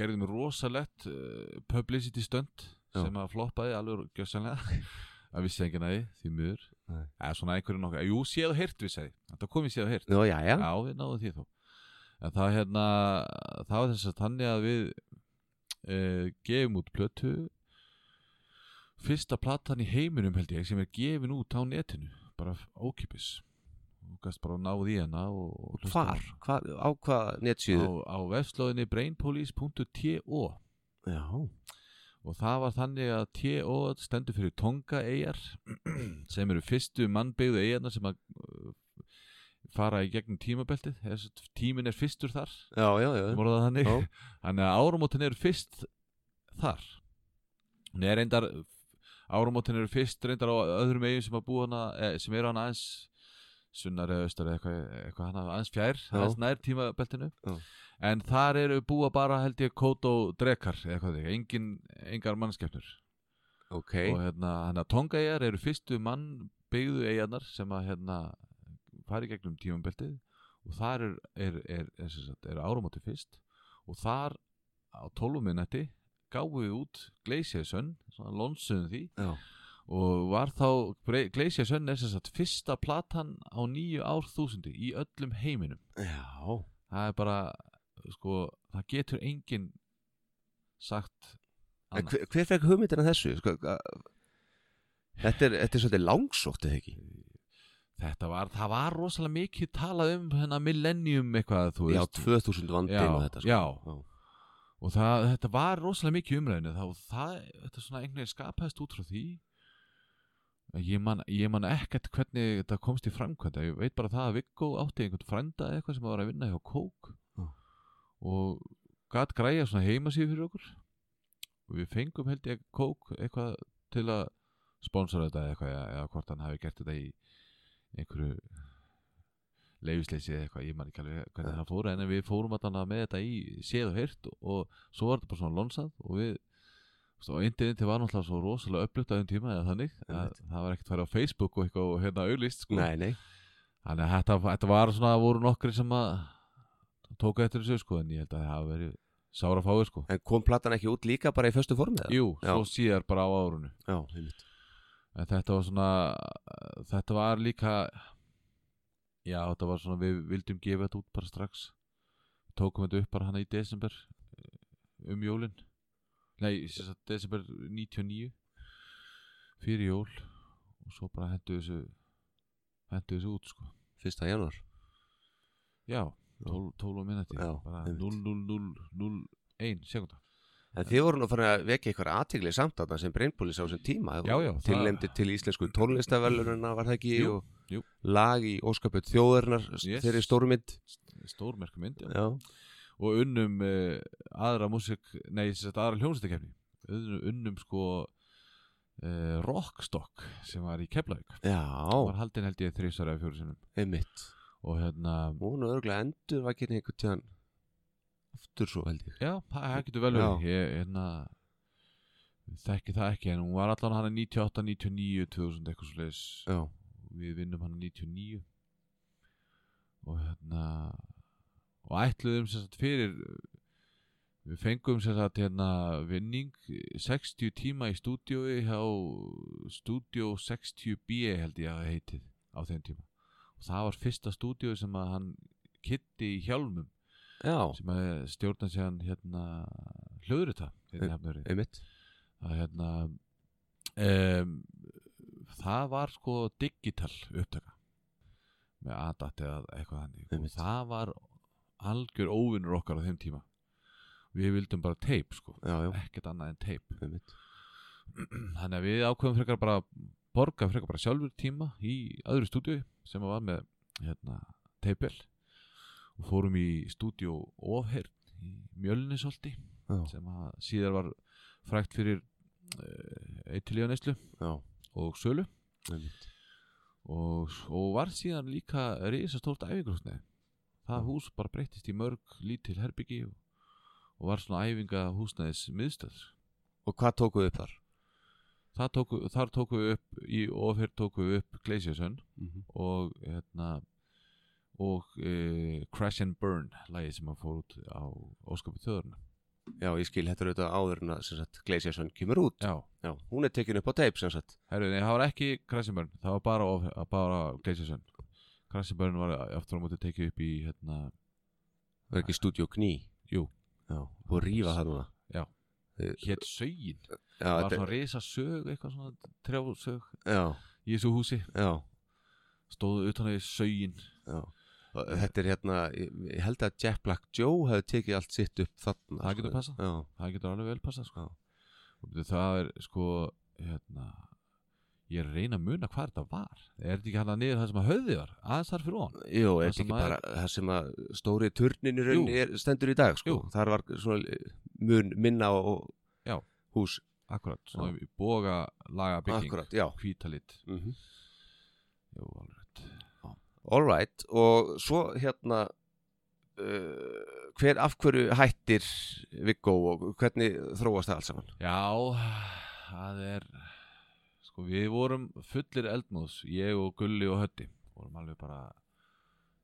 gerði mér rosalett uh, publicity stunt Já. sem að floppaði alveg gjössanlega að vissi enginn að því, því mjögur Nei. eða svona einhverju nokkuð, jú, séð og heyrt vissi ég. þetta komið séð og heyrt Nú, já, já, Já, við náðum því þó En það hérna, það var þess að þannig að við e, gefum út plötu Fyrsta platan í heiminum held ég sem er gefin út á netinu Bara ókipis Þú gast bara náð í hana og, og hlusta hvar, hvar, á hvað Á, netsíðu á vefslóðinni brainpolice.to Já, og það var þannig að T.O. stendur fyrir Tonga [CLEARS THROAT] eigar sem eru fyrstu mannbyggðu eigarna sem að uh, fara í gegnum tímabeltið Þess, tímin er fyrstur þar já, já, já, sem orðað þannig Já. [LAUGHS] þannig að áramótin eru fyrst þar hún er reyndar áramótin eru fyrst reyndar á öðrum eigum sem að búa hana eh, sem eru hana aðeins sunnar eða austar eða eitthvað, eitthvað hana aðeins fjær Já. aðeins nær tímabeltinu Já. en þar eru búa bara held ég kót og drekar eða eitthvað þig, engin, engar mannskeppnur ok og hérna, hérna tongaeyjar eru fyrstu mann byggðu eyjarnar sem að hérna fara í gegnum tímambeltið og þar er, er, er, er, er, er áramóti fyrst og þar á 12 minnætti gáfum við út Gleisjarsönn, svona lónsum því Já, og var þá Gleisjarsönn er sem sagt fyrsta platan á nýju árþúsundi í öllum heiminum já, það er bara, sko, það getur enginn sagt En annað hver, hver fekk hugmyndina þessu? Sko, að- Þetta er, þetta er svolítið langsótt eða ekki Þetta var, það var rosalega mikið talað um hennar millennium eitthvað, þú Já, veist 2000 vandinn Já, og þetta sko. já. og það, þetta var rosalega mikið í umræðinu þá það, þetta svona einhvern veginn skapaðist út frá því ég man, ég man ekkert hvernig þetta komst í framkvæmda ég veit bara það að Viggo átti einhvern frænda eða eitthvað sem var að vinna hjá Kók Já. og gat græja svona heimasíðu fyrir okkur og við fengum held ég Kók eitthvað til að sponsora þetta eða eitthvað eða hvort hann hafi gert þetta í einhverju leifisleysi eða eitthvað, ég man ekki alveg hvernig það fór en við fórum alltaf með þetta í séð og heyrt og svo var þetta bara svona lonsað og við þú veist, og interneti var náttúrulega svo rosalega upplutt á þeim tíma eða þannig að það var ekkert farið á Facebook og eitthvað og hérna auðlist sko. Nei, nei þannig að þetta, þetta var svona voru nokkri sem að tóka eftir þessu sko en ég held að það hafi verið sára fáið sko En kom platan ekki út líka bara í föstu formið? eða? Jú, Já. svo síðar bara á árunu Já, einmitt en þetta var svona þetta var líka já þetta var svona við vildum gefa þetta út bara strax tókum þetta upp bara hana í desember eh, um jólin nei, sem sagt, desember 99 fyrir jól og svo bara hendu þessu hendu þessu út sko Fyrsta januar já, 12 12 minúti Já, bara einmitt. 00001 sekunda En þið voru nú farin að vekja eitthvað aðtigli samt þarna sem Brynbúlis á þessum tíma Já, já, það- Tillemdi til íslensku tónlistavellununa var það ekki Jú, og jú. lag í óskapöld þjóðurnar Yes. yes. þeirri stórmynd stórmerku mynd já. Já, og unnum uh, aðra músik, nei, sem sagt, aðra hljómsættakefni unnum, unnum sko uh, Rockstock sem var í Keflavík já, var haldin held ég þrísar eða fjóru sinnum einmitt og hérna, Hún og örgulega endur var ekki einhvern tíðan Aftur svo held ég já, það það getur vel Já. verið ég, hérna þekki það ekki, en hún var allan hana 98, 99, 2000 eitthvað svo leis Já, við vinnum hana 99 og hérna og ætluðum sem sagt fyrir við fengum sem sagt hérna vinning 60 tíma í stúdiói hjá stúdió 60B held ég að það heitið á þeim tíma og það var fyrsta stúdiói sem að hann kitti í hjálmum já, sem að stjórna sér hann hérna hlöðurita hérna hefnurinn einmitt að hérna um, það var sko digital upptaka með ADAT eða eitthvað þannig og Einmitt. það var algjör óvinnur okkar á þeim tíma við vildum bara tape sko Já, já, ekkert annað en tape einmitt þannig að við ákveðum frekar bara að borga frekar bara sjálfur tíma í öðru stúdíu sem var með hérna, teipel og fórum í stúdíu ofherð í Mjölnisolti Já. sem að síðar var frækt fyrir uh, eitilíða neyslu Já, og sölu einmitt og, og var síðan líka risastórt æfingarhúsnæði það hús bara breyttist í mörg lítil herbyggi og, og var svona æfingahúsnæðis miðstöð Og hvað tókuðu upp þar? Það tóku, þar tóku við upp í ofherð tóku við upp Glaciasön Mhm. og hérna og e, Crash and Burn lagið sem að fór út á óskapi þjóðurna Já, ég skil, þetta er auðvitað áður en að sem sagt, Gleisjarsson kemur út Já, Já, hún er tekin upp á teip sem sagt herru, nei, það var ekki Crash and Burn, það var bara, Of- bara Glaciasön Crash and Burn var aftur á móti tekið upp í hérna, Það er ekki Studio Gný Jú. Já, búið að rífa það núna Já. Eh, hétt Sögin Já, var þetta- svona risasög, eitthvað svona trjásög já, í þessu húsi, já, stóðu utan að Sögin já Og Þetta er hérna, ég ég held að Jack Black Joe hefði tekið allt sitt upp Það þarna sko. getur passað. Já, það getur alveg vel passað sko. Og veitu, það er sko hérna, ég er að reyna að muna hvað þetta var er þetta ekki hann að niður það sem að höfði var aðeins þar fyrir ofan Jú, er Það þetta sem ekki að- bara það sem að stóri turnin í rauninni er, stendur í dag sko. Jú. Þar var svona eh, mun minna og Já. hús akkurat, svona í boga laga bygging Akkurat, já hvítalit mm -hmm. Jú, alveg rétt. All right, og svo hérna uh, hver af hverju hættir Viggo og hvernig þróast það alls saman? já, það er sko við vorum fullir eldmóðs ég og Gulli og Hötti vorum alveg bara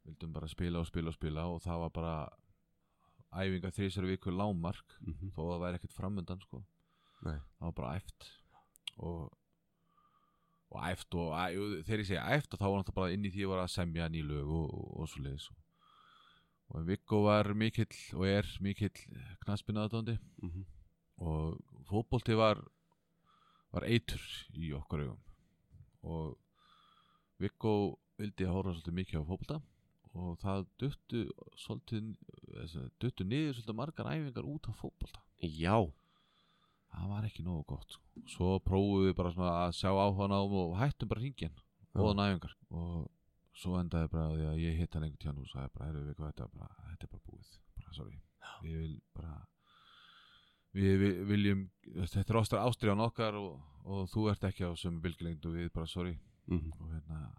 vildum bara spila og spila og spila og það var bara æfinga þrísar viku lámark þó að það væri ekkert framöndan sko. Nei. það var bara æft og, og æft og æ, jú, þegar ég segi æft þá var náttúrulega bara inn í því að ég var að semja ný lög og, og, og svo leiðis og, og Viggo var mikill og er mikill knaspinaðdóndi Mhm. og fótbolti var var eitur í okkar augum og Viggo vildi að horfa svolítið mikið á fótbolta og það duttu svolítið, þessi, duttu niður svolítið margar æfingar út á fótbolta Já, það var ekki nógu gott sko. svo prófum við bara svona að sjá áhugan á og hættum bara hringin og næfingar og svo endaði bara á því að ég hitt hann einhvern tíðan og sagði bara, heyrðu við hvað þetta er bara, þetta er bara búið bara, sorry, við vil bara við vi- viljum þetta er ástra ástriðan okkar og, og þú ert ekki á sömu bylgilengd og við bara, sorry Mhm. og hérna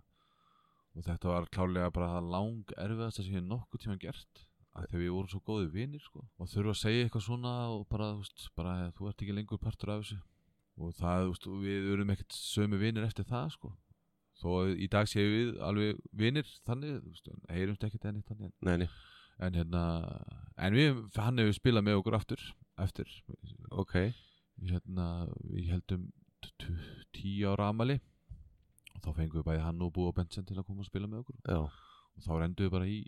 og þetta var klárlega bara það lang erfiðast sem ég hef nokkuð tíma gert að þegar við vorum svo góði vinir sko og þurfa að segja eitthvað svona og bara, þú veist, bara þú ert ekki lengur partur af þessu og það, þú veist, og við erum ekkert sömu vinir eftir það sko þó að í dag séum við alveg vinir þannig, þú veist, en heyrumst ekkert enn eitt þannig en- neini, en hérna, en við, hann hefur spilað með okkur aftur, eftir ok hérna, við heldum t- t- tíu ára amali og þá fengum við bæði hann og Búa Benson til að koma og spila með okkur Já, og þá rendum við bara í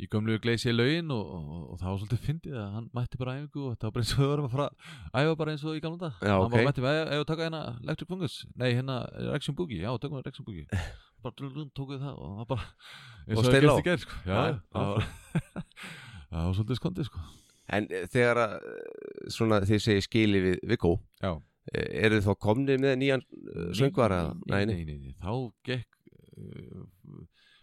í gömlu gleisi laugin og, og, og það var svolítið fyndið að hann mætti bara á æfingu og þetta var bara eins og við vorum að fara að æfa bara eins og í gamla dag Já, hann ok. bara mætti með að taka hérna Electric Fungus nei hérna Rexion Boogie, já tökum við Rexion [LAUGHS] Boogie bara drulun tók við það og það bara eins og Og það Stelló. gerst í gerð sko. já, Já, það var [LAUGHS] það var svolítið skondið sko en eh, þegar að, eh, svona þið segir skili við Viggo já eh, Eru þið þá komnið með nýjan eh, söngvara? nei, nei, nei, nei, þá gekk uh,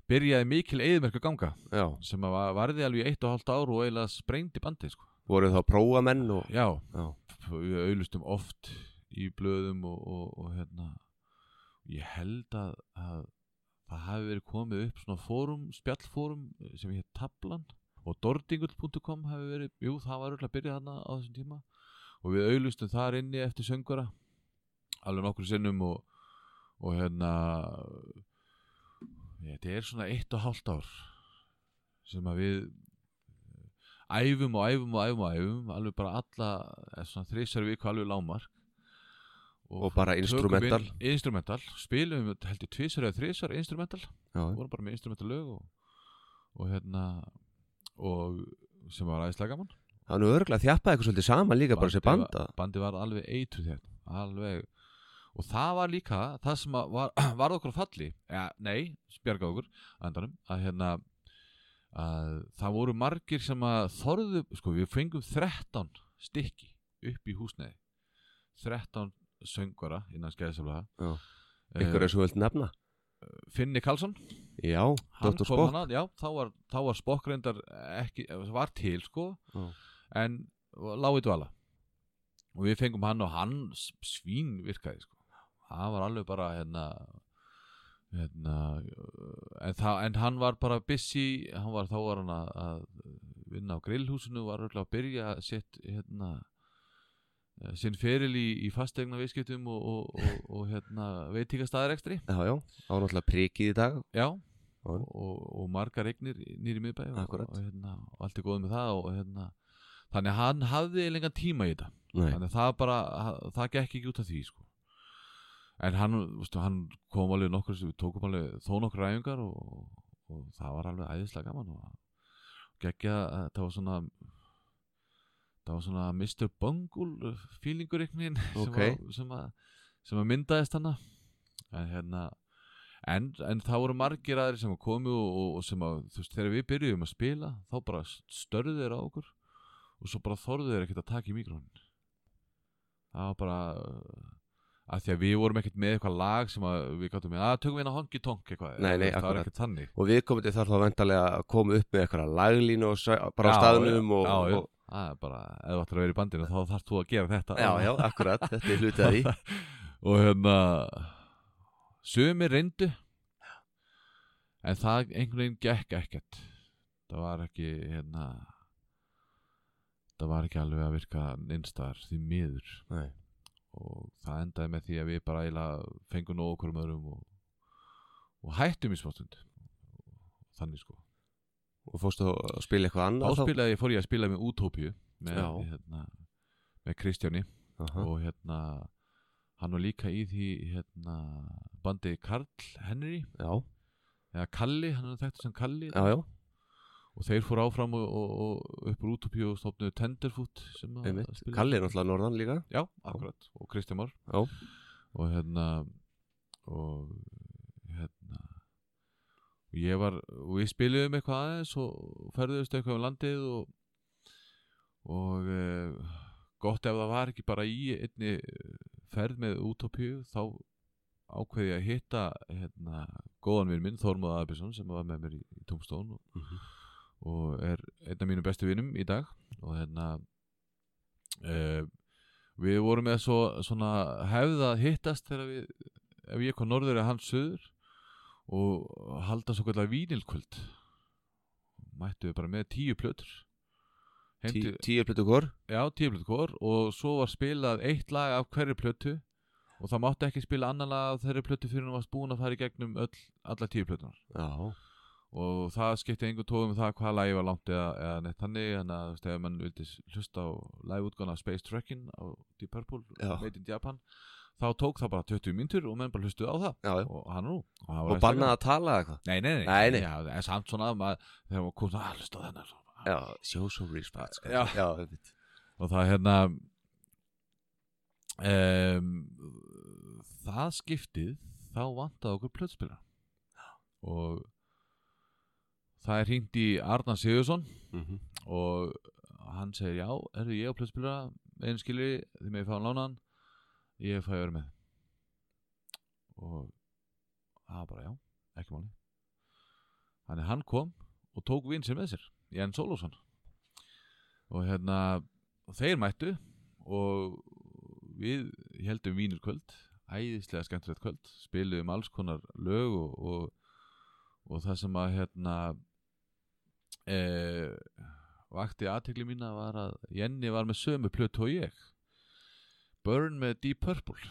byrjaði mikil eðmerk að ganga Já, sem að var- varði alveg í eitt og hálft ár og eiginlega sprengdi bandið sko voru þá prófamenn og já Já, við auðlustum oft í blöðum og, og, og hérna ég held að, að það hafi verið komið upp svona fórum, spjallfórum eh, sem hétt Tablan og dordingull.com hafi verið, jú það var öll að byrja þarna á þessum tíma og við auðlustum þar inni eftir söngvara alveg nokkur sinnum og, og hérna eh, þetta er svona eitt og hálft ár sem að við eh, æfum og æfum og æfum og æfum alveg bara alla eða svona þrísar viku alveg lámark Og bara tökum instrumental. inn- instrumental, spilum við held ég tvísar eða þrísar instrumental Mm. já, vorum bara með instrumental lög og, og hérna og sem var aðeinslega gaman það var nú örgulega þjappaði eitthvað svolítið saman líka bara sér Bandið var- banda bandið var alveg eitru þér alveg og það var líka það sem að var, [CLEARS THROAT] var okkur á falli ja, nei, spjarga okkur andanum, að hérna að það voru margir sem að þorðu, sko við fengum 13 stykki upp í húsnæði 13 söngvara innan skæðisöflaða Já. Ykkur er svo vilt nefna Finni Karlsson Já, Hann kom Dr. Spock hana, já, þá var, þá var Spock reyndar ekki, var til sko Já. en láið dvala og við fengum hann og hann svín virkaði sko hann var alveg bara hérna hérna uh, en, það, en hann var bara busy hann var, þá var hann að, að vinna á grillhúsinu var öll að byrja að setja hérna eh, sinn feril í, í fastegna viðskiptum og, og, og, og hérna veitíkastæðarekstri Já, já, það var náttúrulega prikið í dag Já, Já. og, og margar eignir nýri miðbæ og, Akkúrat. og, hérna, og allt er góð með það og hérna þannig að hann hafði lengan tíma í þetta Nei, þannig að það bara, ha- það gekk ekki út af því sko. en hann, veistu, hann kom alveg nokkur, við tókum alveg þó nokkur æfingar og, og það var alveg æðislega gaman og geggja, það var svona það var svona Mr. Bungle feelingur einhvern veginn [LAUGHS] Ókei. sem, að, sem, að, sem að myndaðist hana en hérna en, en það voru margir aðri sem komu og, og, og sem að þú veist þegar við byrjuðum að spila þá bara störðu þeir á okkur og svo bara þorðu þeir ekkert að taka í mikrónin það var bara uh, að því að við vorum ekkert með eitthvað lag sem að við gáttum með að tökum við hérna honky tonk eitthvað Nei, nei, það var akkurat. ekkert þannig og viðkomandi þarf þá vendarlega að koma upp með eitthvað laglínu og sæ- bara á Já, staðnum og, já, já, og, það er bara, ef þú ættir að vera í bandinu þá þarfst þú að gera þetta já, já, akkurat, þetta er hlutið að því [LAUGHS] og hérna sumir reyndu en það einhvern veginn gekk ekkert það var ekki hérna það var ekki alveg að virka einstar því miður Nei. og það endaði með því að við bara eiginlega fengum nóg okkur um öðrum og, og hættum í smástund þannig sko Og fórstu að spila eitthvað annað þá spilaði, fór ég að spila með Utopíu með, Já. hérna, með Kristjáni Aha, og hérna hann var líka í því hérna, bandi Karl Henry Já, eða Kalli, hann er þekkt sem Kalli já, já, og þeir fór áfram og, og, og uppur útopíu og stofnuðu Tenderfoot sem að einmitt spila- Kalli er náttúrulega norðan líka já, akkurat, og Kristján Már Já. og hérna og hérna og ég var, og við spiluðum eitthvað aðeins og ferðuðust eitthvað um landið og og e, gott ef það var ekki bara í einni eh, ferð með útopíu þá ákveði ég að hitta hérna, góðan vinn minn Þormóð Abisson sem var með mér í, í Tómstón og, og er einn af mínum bestu vinnum í dag og hérna e, við vorum með svo, svona hefða að hittast þegar við ef ég kom norður eða hans söður og halda svo kallar vínilkvöld mættu við bara með tíu plötur Tí, Heimtu, tíu plötu hvort já, tíu plötur hvor og svo var spilað eitt lag af hverju plötu og það mátti ekki spila annan lag af þeirri plötu fyrir hún varst búin að fara í gegnum öll, alla tíu plötunar Já, og það skipti engu tóðum það hvað lagi var langt eða, eða neitt þannig þannig að þú veist ef mann vildi s- hlusta á liveútgána Space Trekking á Deep Purple Já. Made in Japan þá tók það bara 20 mínútur og menn bara hlustuðu á það já, já. og hann nú og, það var Og einstaklega. bannað að tala eða eitthvað nei, nei, nei, Nei, nei. Já, en samt svona að maður, þegar maður kom það að hlusta á þennan svona. Já, show some respect sko. Já. já einmitt. og það hérna um, það skiptið þá vantaði okkur plötspila og það er hringt í Arnar Sigursson Mhm. og hann segir já, er ég á plötspila einu skilri, þið með ég fá hann lánaðan ég fæ að vera með og það var bara já, ekki máli þannig hann kom og tók vinn sér með sér Jens Ólafsson og hérna og þeir mættu og við heldum vínurkvöld æðislega skemmtilegt kvöld spiluðum alls konar lög og, og, og það sem að hérna e, vakti aðtekli mína var að Jenny var með sömu plötu og ég Burn með Deep Purple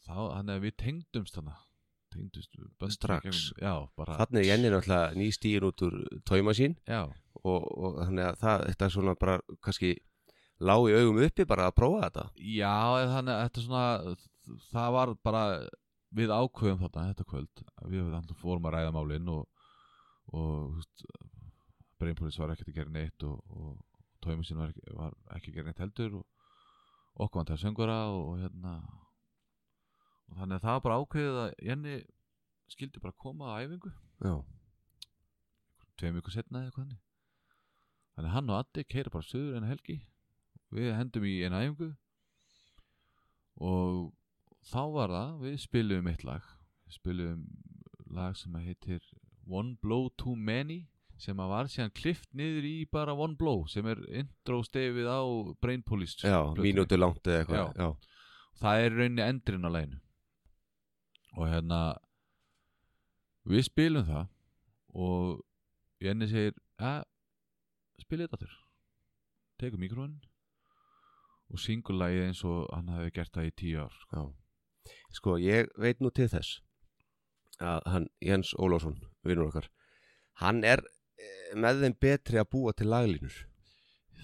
þá, þannig að við tengdumst hana tengdumst böndum í Strax. gegnum- já, bara, Þannig er Jenny náttúrulega ný stíin út úr tóima sín já, og, og þannig að það, þetta er svona bara kannski lág í augum uppi bara að prófa þetta Já, en þannig að þetta er svona það var bara við ákveðum þarna þetta kvöld við þannig fórum að ræða málin og, og Brainpolis var ekkert að gera neitt og, og Tóimusin var, ekki- var ekki að gera neitt heldur og okkur vantar söngvara og, hérna og þannig að það var bara ákveðið að Jenny skildi bara koma að æfingu Já, tveim ykkur setna eða eitthvað þannig þannig að hann og Addi keira bara söður en helgi við hendum í eina æfingu og þá var það við spilum eitt lag við spilum lag sem að heitir One Blow Too Many sem að var síðan klift niður í bara One Blow sem er intro stefið á Brain Police já plötunni. mínútu langt eða eitthvað Já, það er í rauninni endurinn á læginu og hérna við spilum það og Jenny segir ja, spila þetta þér tekur mikrofon og syngur lagið eins og hann hafi gert það í tíu ár já. Sko, ég veit nú til þess að hann, Jens Ólásson, vinnur okkar hann er eh, með þeim betri að búa til laglínur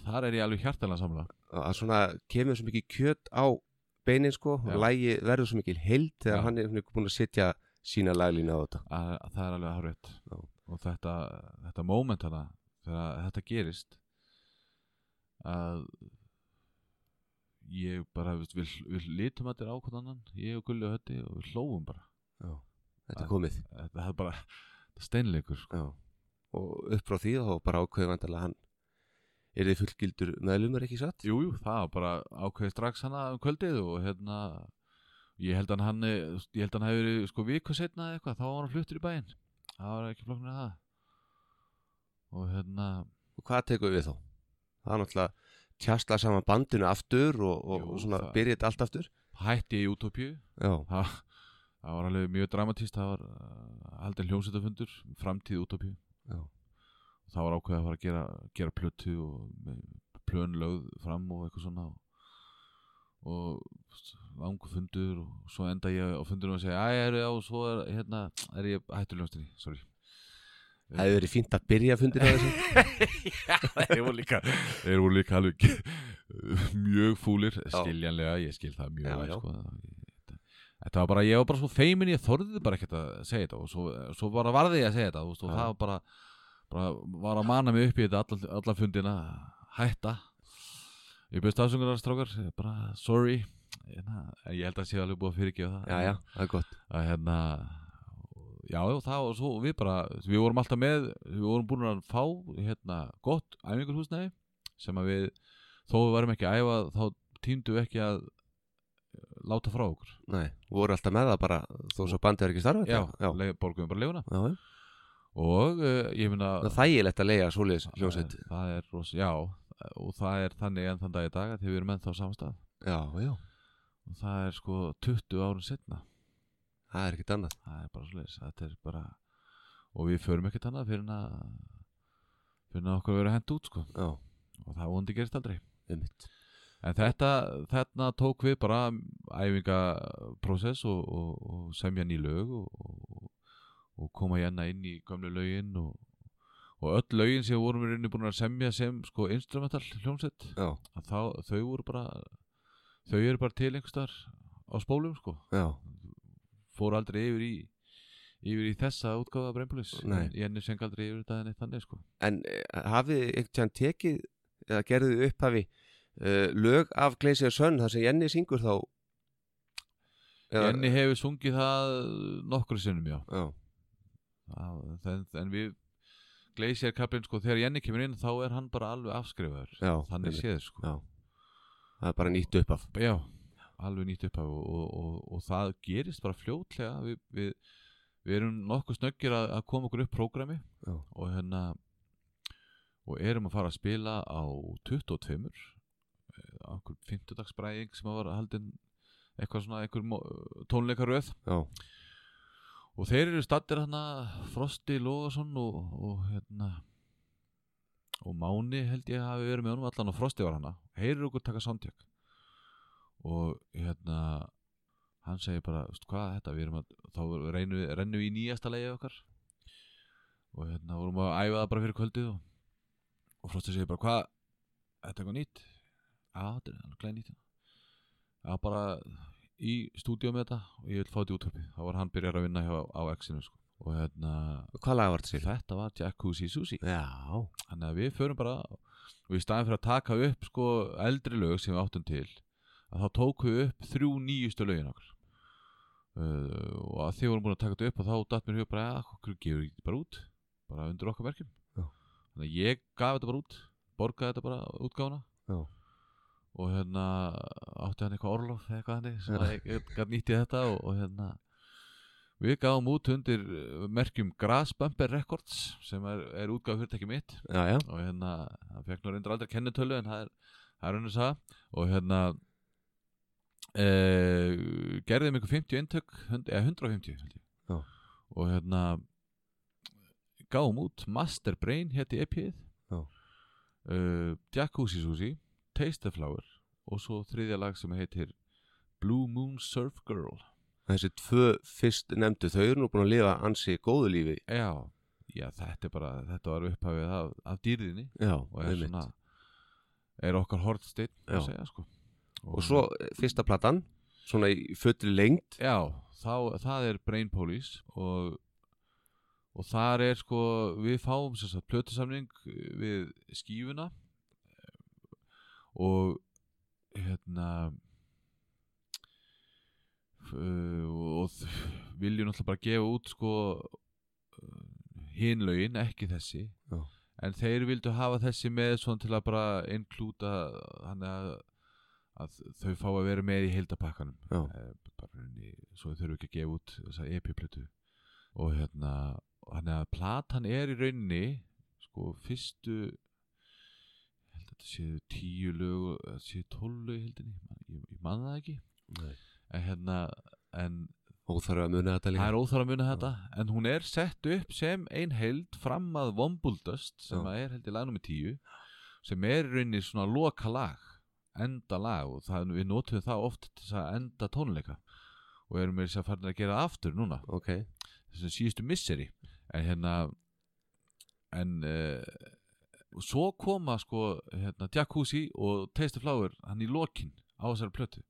þar er ég alveg hjartalega samla að svona kemur svo mikið kjöt á beinin sko, Já. og lægi verður svo mikið heild þegar Já. hann er svona búin að setja sína laglínu á þetta að, að það er alveg harfitt Já. og þetta, þetta moment hana þegar þetta gerist að ég bara við, við, við litum að þetta á hvern annan ég og Gulli og Hötti og við hlófum bara þetta Að- er komið þetta er bara steinleikur sko. Já. og upp frá því þá bara ákveði vandalega hann er þið fullgildur meðlumur ekki satt? Jú, jú, það var bara ákveðið strax hana um kvöldið og hérna ég held að hann, hann ég held að hann hefur verið sko viku setna eða eitthvað, þá var hann fluttur í bæinn það var ekki flokknir að það og hérna og hvað tekum við þá? það er náttúrulega tjastla saman bandinu aftur og, og, Jú, og svona það- byrja þetta allt aftur hætti ég í útópíu já, það, það var alveg mjög dramatíst það var uh, haldið hljómsveitafundur framtíð útópíu Já. það var ákveðið að fara að gera, gera plötu og með plön lögð fram og eitthvað svona og, og langu fundur og svo enda ég á fundunum að segja að ég er já, og svo er, hérna, er ég hættur hljómsveitinni, sorry það hefur verið fínt að byrja fundir á þessu þeir voru líka þeir voru líka alveg mjög fúlir, Já. skiljanlega ég skil það mjög Já, vel, já. sko. Þetta- þetta var bara, ég var bara svo feimin ég þorðið bara ekkert að segja þetta og svo, svo bara varði ég að segja þetta þú veist, og Já. það var bara, bara var að mana mig upp í þetta alla, alla fundina hætta ég byrst afsöngunar strákar, bara sorry en ég held að sé alveg búið að fyrirgefa það já, já, það er gott að hérna já, já, það og svo við bara við vorum alltaf með, við vorum búin að fá hérna gott æfingarhúsnæði sem að við, þó við varum ekki að æfa þá týndum við ekki að láta frá okkur Nei, voru alltaf með það bara þó svo bandið er ekki starfið já, já, já. borgum við bara leifuna já, já. og uh, ég finna Það er þægilegt að leiða svoleiðis það, hljómsveit Eh, það er rosa, já, og það er þannig enn þann dag í dag að því við erum ennþá á sama stað Já, já, og það er sko 20 árun setna það er ekkert annað það er bara sliðis þetta er bara og við förum ekkert annað fyrir en að fyrir en að okkur verið hent út sko Já, og það vondi gerist aldrei um en þetta, þarna tók við bara æfingaprósess og, og, og semja ný lög og, og, og koma hérna inn í gamlu lögin og, og öll lögin sem vorum við inni búin að semja sem sko instrumental hljómsett Já, að þá, þau voru bara þau eru bara til einhverstaðar á spólum sko já, fór aldrei yfir í yfir í þessa útgáfa Brembulis Nei. ég enni seng aldrei yfir þetta en eitt þannig sko en eh, hafið þið einhvern tíðan tekið eða gerðið upphafi uh, lög af Gleisir Sönn þar sem Jenny syngur þá Jenny hefur sungið það nokkru sinnum já Já, Það- en, en við gleysið kaplinn sko þegar Jenny kemur inn þá er hann bara alveg afskrifaður já, þannig einmitt. séð sko Já. það er bara nýtt upphaf já, alveg nýtt upphaf og, og, og, og það gerist bara fljótlega við, við, við erum nokkuð snöggir að, að koma okkur upp prógrami Já. og hérna og erum að fara að spila á 22 eh, einhver fimmtudagsbræðing sem að var haldin eitthvað svona einhver mó- tónleikaröð Já, og þeir eru stattir hérna Frosti Lóðarsson og, og hérna og Máni held ég hafi verið með honum allan og Frosti var hana, heyrir okkur taka soundcheck og hérna hann segir bara, veist hvað er þetta við erum að, þá reynum við, rennum við í nýjasta leiði okkar og hérna vorum að æfa það bara fyrir kvöldið og, og Frosti segir bara, hvað er þetta eitthvað nýtt? Já, þetta er alveg glæð nýtt Já, bara í stúdíu með þetta og ég vil fá þetta í útvarpi þá var hann byrjar að vinna hjá, á X-inu sko. og hérna hvað laga var þetta sér? þetta var Jacuzzi Susi Já, þannig að við förum bara og í staðin fyrir að taka upp sko, eldri lög sem við áttum til að þá tókum við upp þrjú nýjustu lögin okkur uh, og að þið vorum búin að taka þetta upp og þá datt mér hugur bara að okkur gefur þetta ekki bara út bara undir okkar merkjum Já. þannig að ég gaf þetta bara út borgaði þetta bara útgáfuna Já. og hérna átti hann eitthvað orlof eða eitthvað þannig sem að ég- ég gæti nýtti þetta og, og hérna við gáum út undir uh, merkjum Grassbumper Records sem er, er útgáð fyrirtæki mitt já, já, og hérna, hann fekk nú reyndar aldrei kennitölu en það er, það er hann að sagða og hérna e, gerðum ykkur 50 eintök eða 150 held ég Já. og hérna gáum út Master Brain hétti EP-ið Já. uh, Jacuzzi Susi Taste the Flower og svo þriðja lag sem heitir Blue Moon Surf Girl þessi tvö fyrst nefndu þau eru nú búin að lifa ansi góðu lífi já, já þetta er bara þetta var upphafið af, af dýrðinni Já, og er einmitt. svona er okkar hortsteinn Já. að segja sko Og svo eh, fyrsta platan, svona í fullri lengd já, þá, það er Brain Police og og þar er sko við fáum sem sagt plötusamning eh, við skífuna eh, og hérna f- eh, og þ- viljum alltaf bara gefa út sko hinlaugin, ekki þessi Já. en þeir vildu hafa þessi með svona til að bara inklúta þannig að, að þau fá að vera með í heildapakkanum Já. Eh, bara henni, svo þau þurfum ekki að gefa út þessa epiplötu og hérna þannig að platan er í rauninni sko fyrstu ég held að þetta séu tíu lög eða séu tólf lög í heldinni ég, ég man það ekki Nei. en hérna en og þarf að muna þetta líka Það er óþára að muna þetta En hún er sett upp sem ein held fram að Vombuldust sem Já. að er held í lag nummer 10 sem er í rauninni svona loka lag enda lag og það, við notum það oft til þess að enda tónleika og erum við þess að farin að gera það aftur núna Ok, þessum síðustu misseri en hérna en uh, svo koma sko hérna Jacuzzi og Taste of Flower hann í lokin á þessari plötu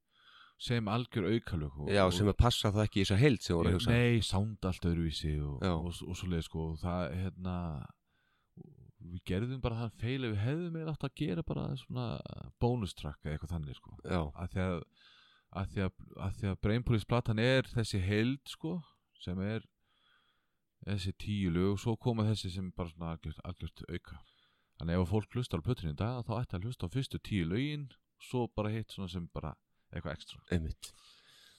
sem algjör aukalög og- já, og- sem að passa það ekki í þessa heild sem voru að hugsa Nei, sound allt öðruvísi og, Já. og, og svo leið sko og það, hérna við gerðum bara þann feil að við hefðum eða átt að gera bara svona bónustrakka eða eitthvað þannig sko Já, að því að að því að, að, því að Brainpolis platan er þessi heild sko sem er þessi tíu lög og svo koma þessi sem bara svona algjört, algjört auka þannig ef að fólk hlusta á plötunni í dag þá ætti að hlusta á fyrstu tíu lögin svo bara hitt svona sem bara eitthvað ekstra einmitt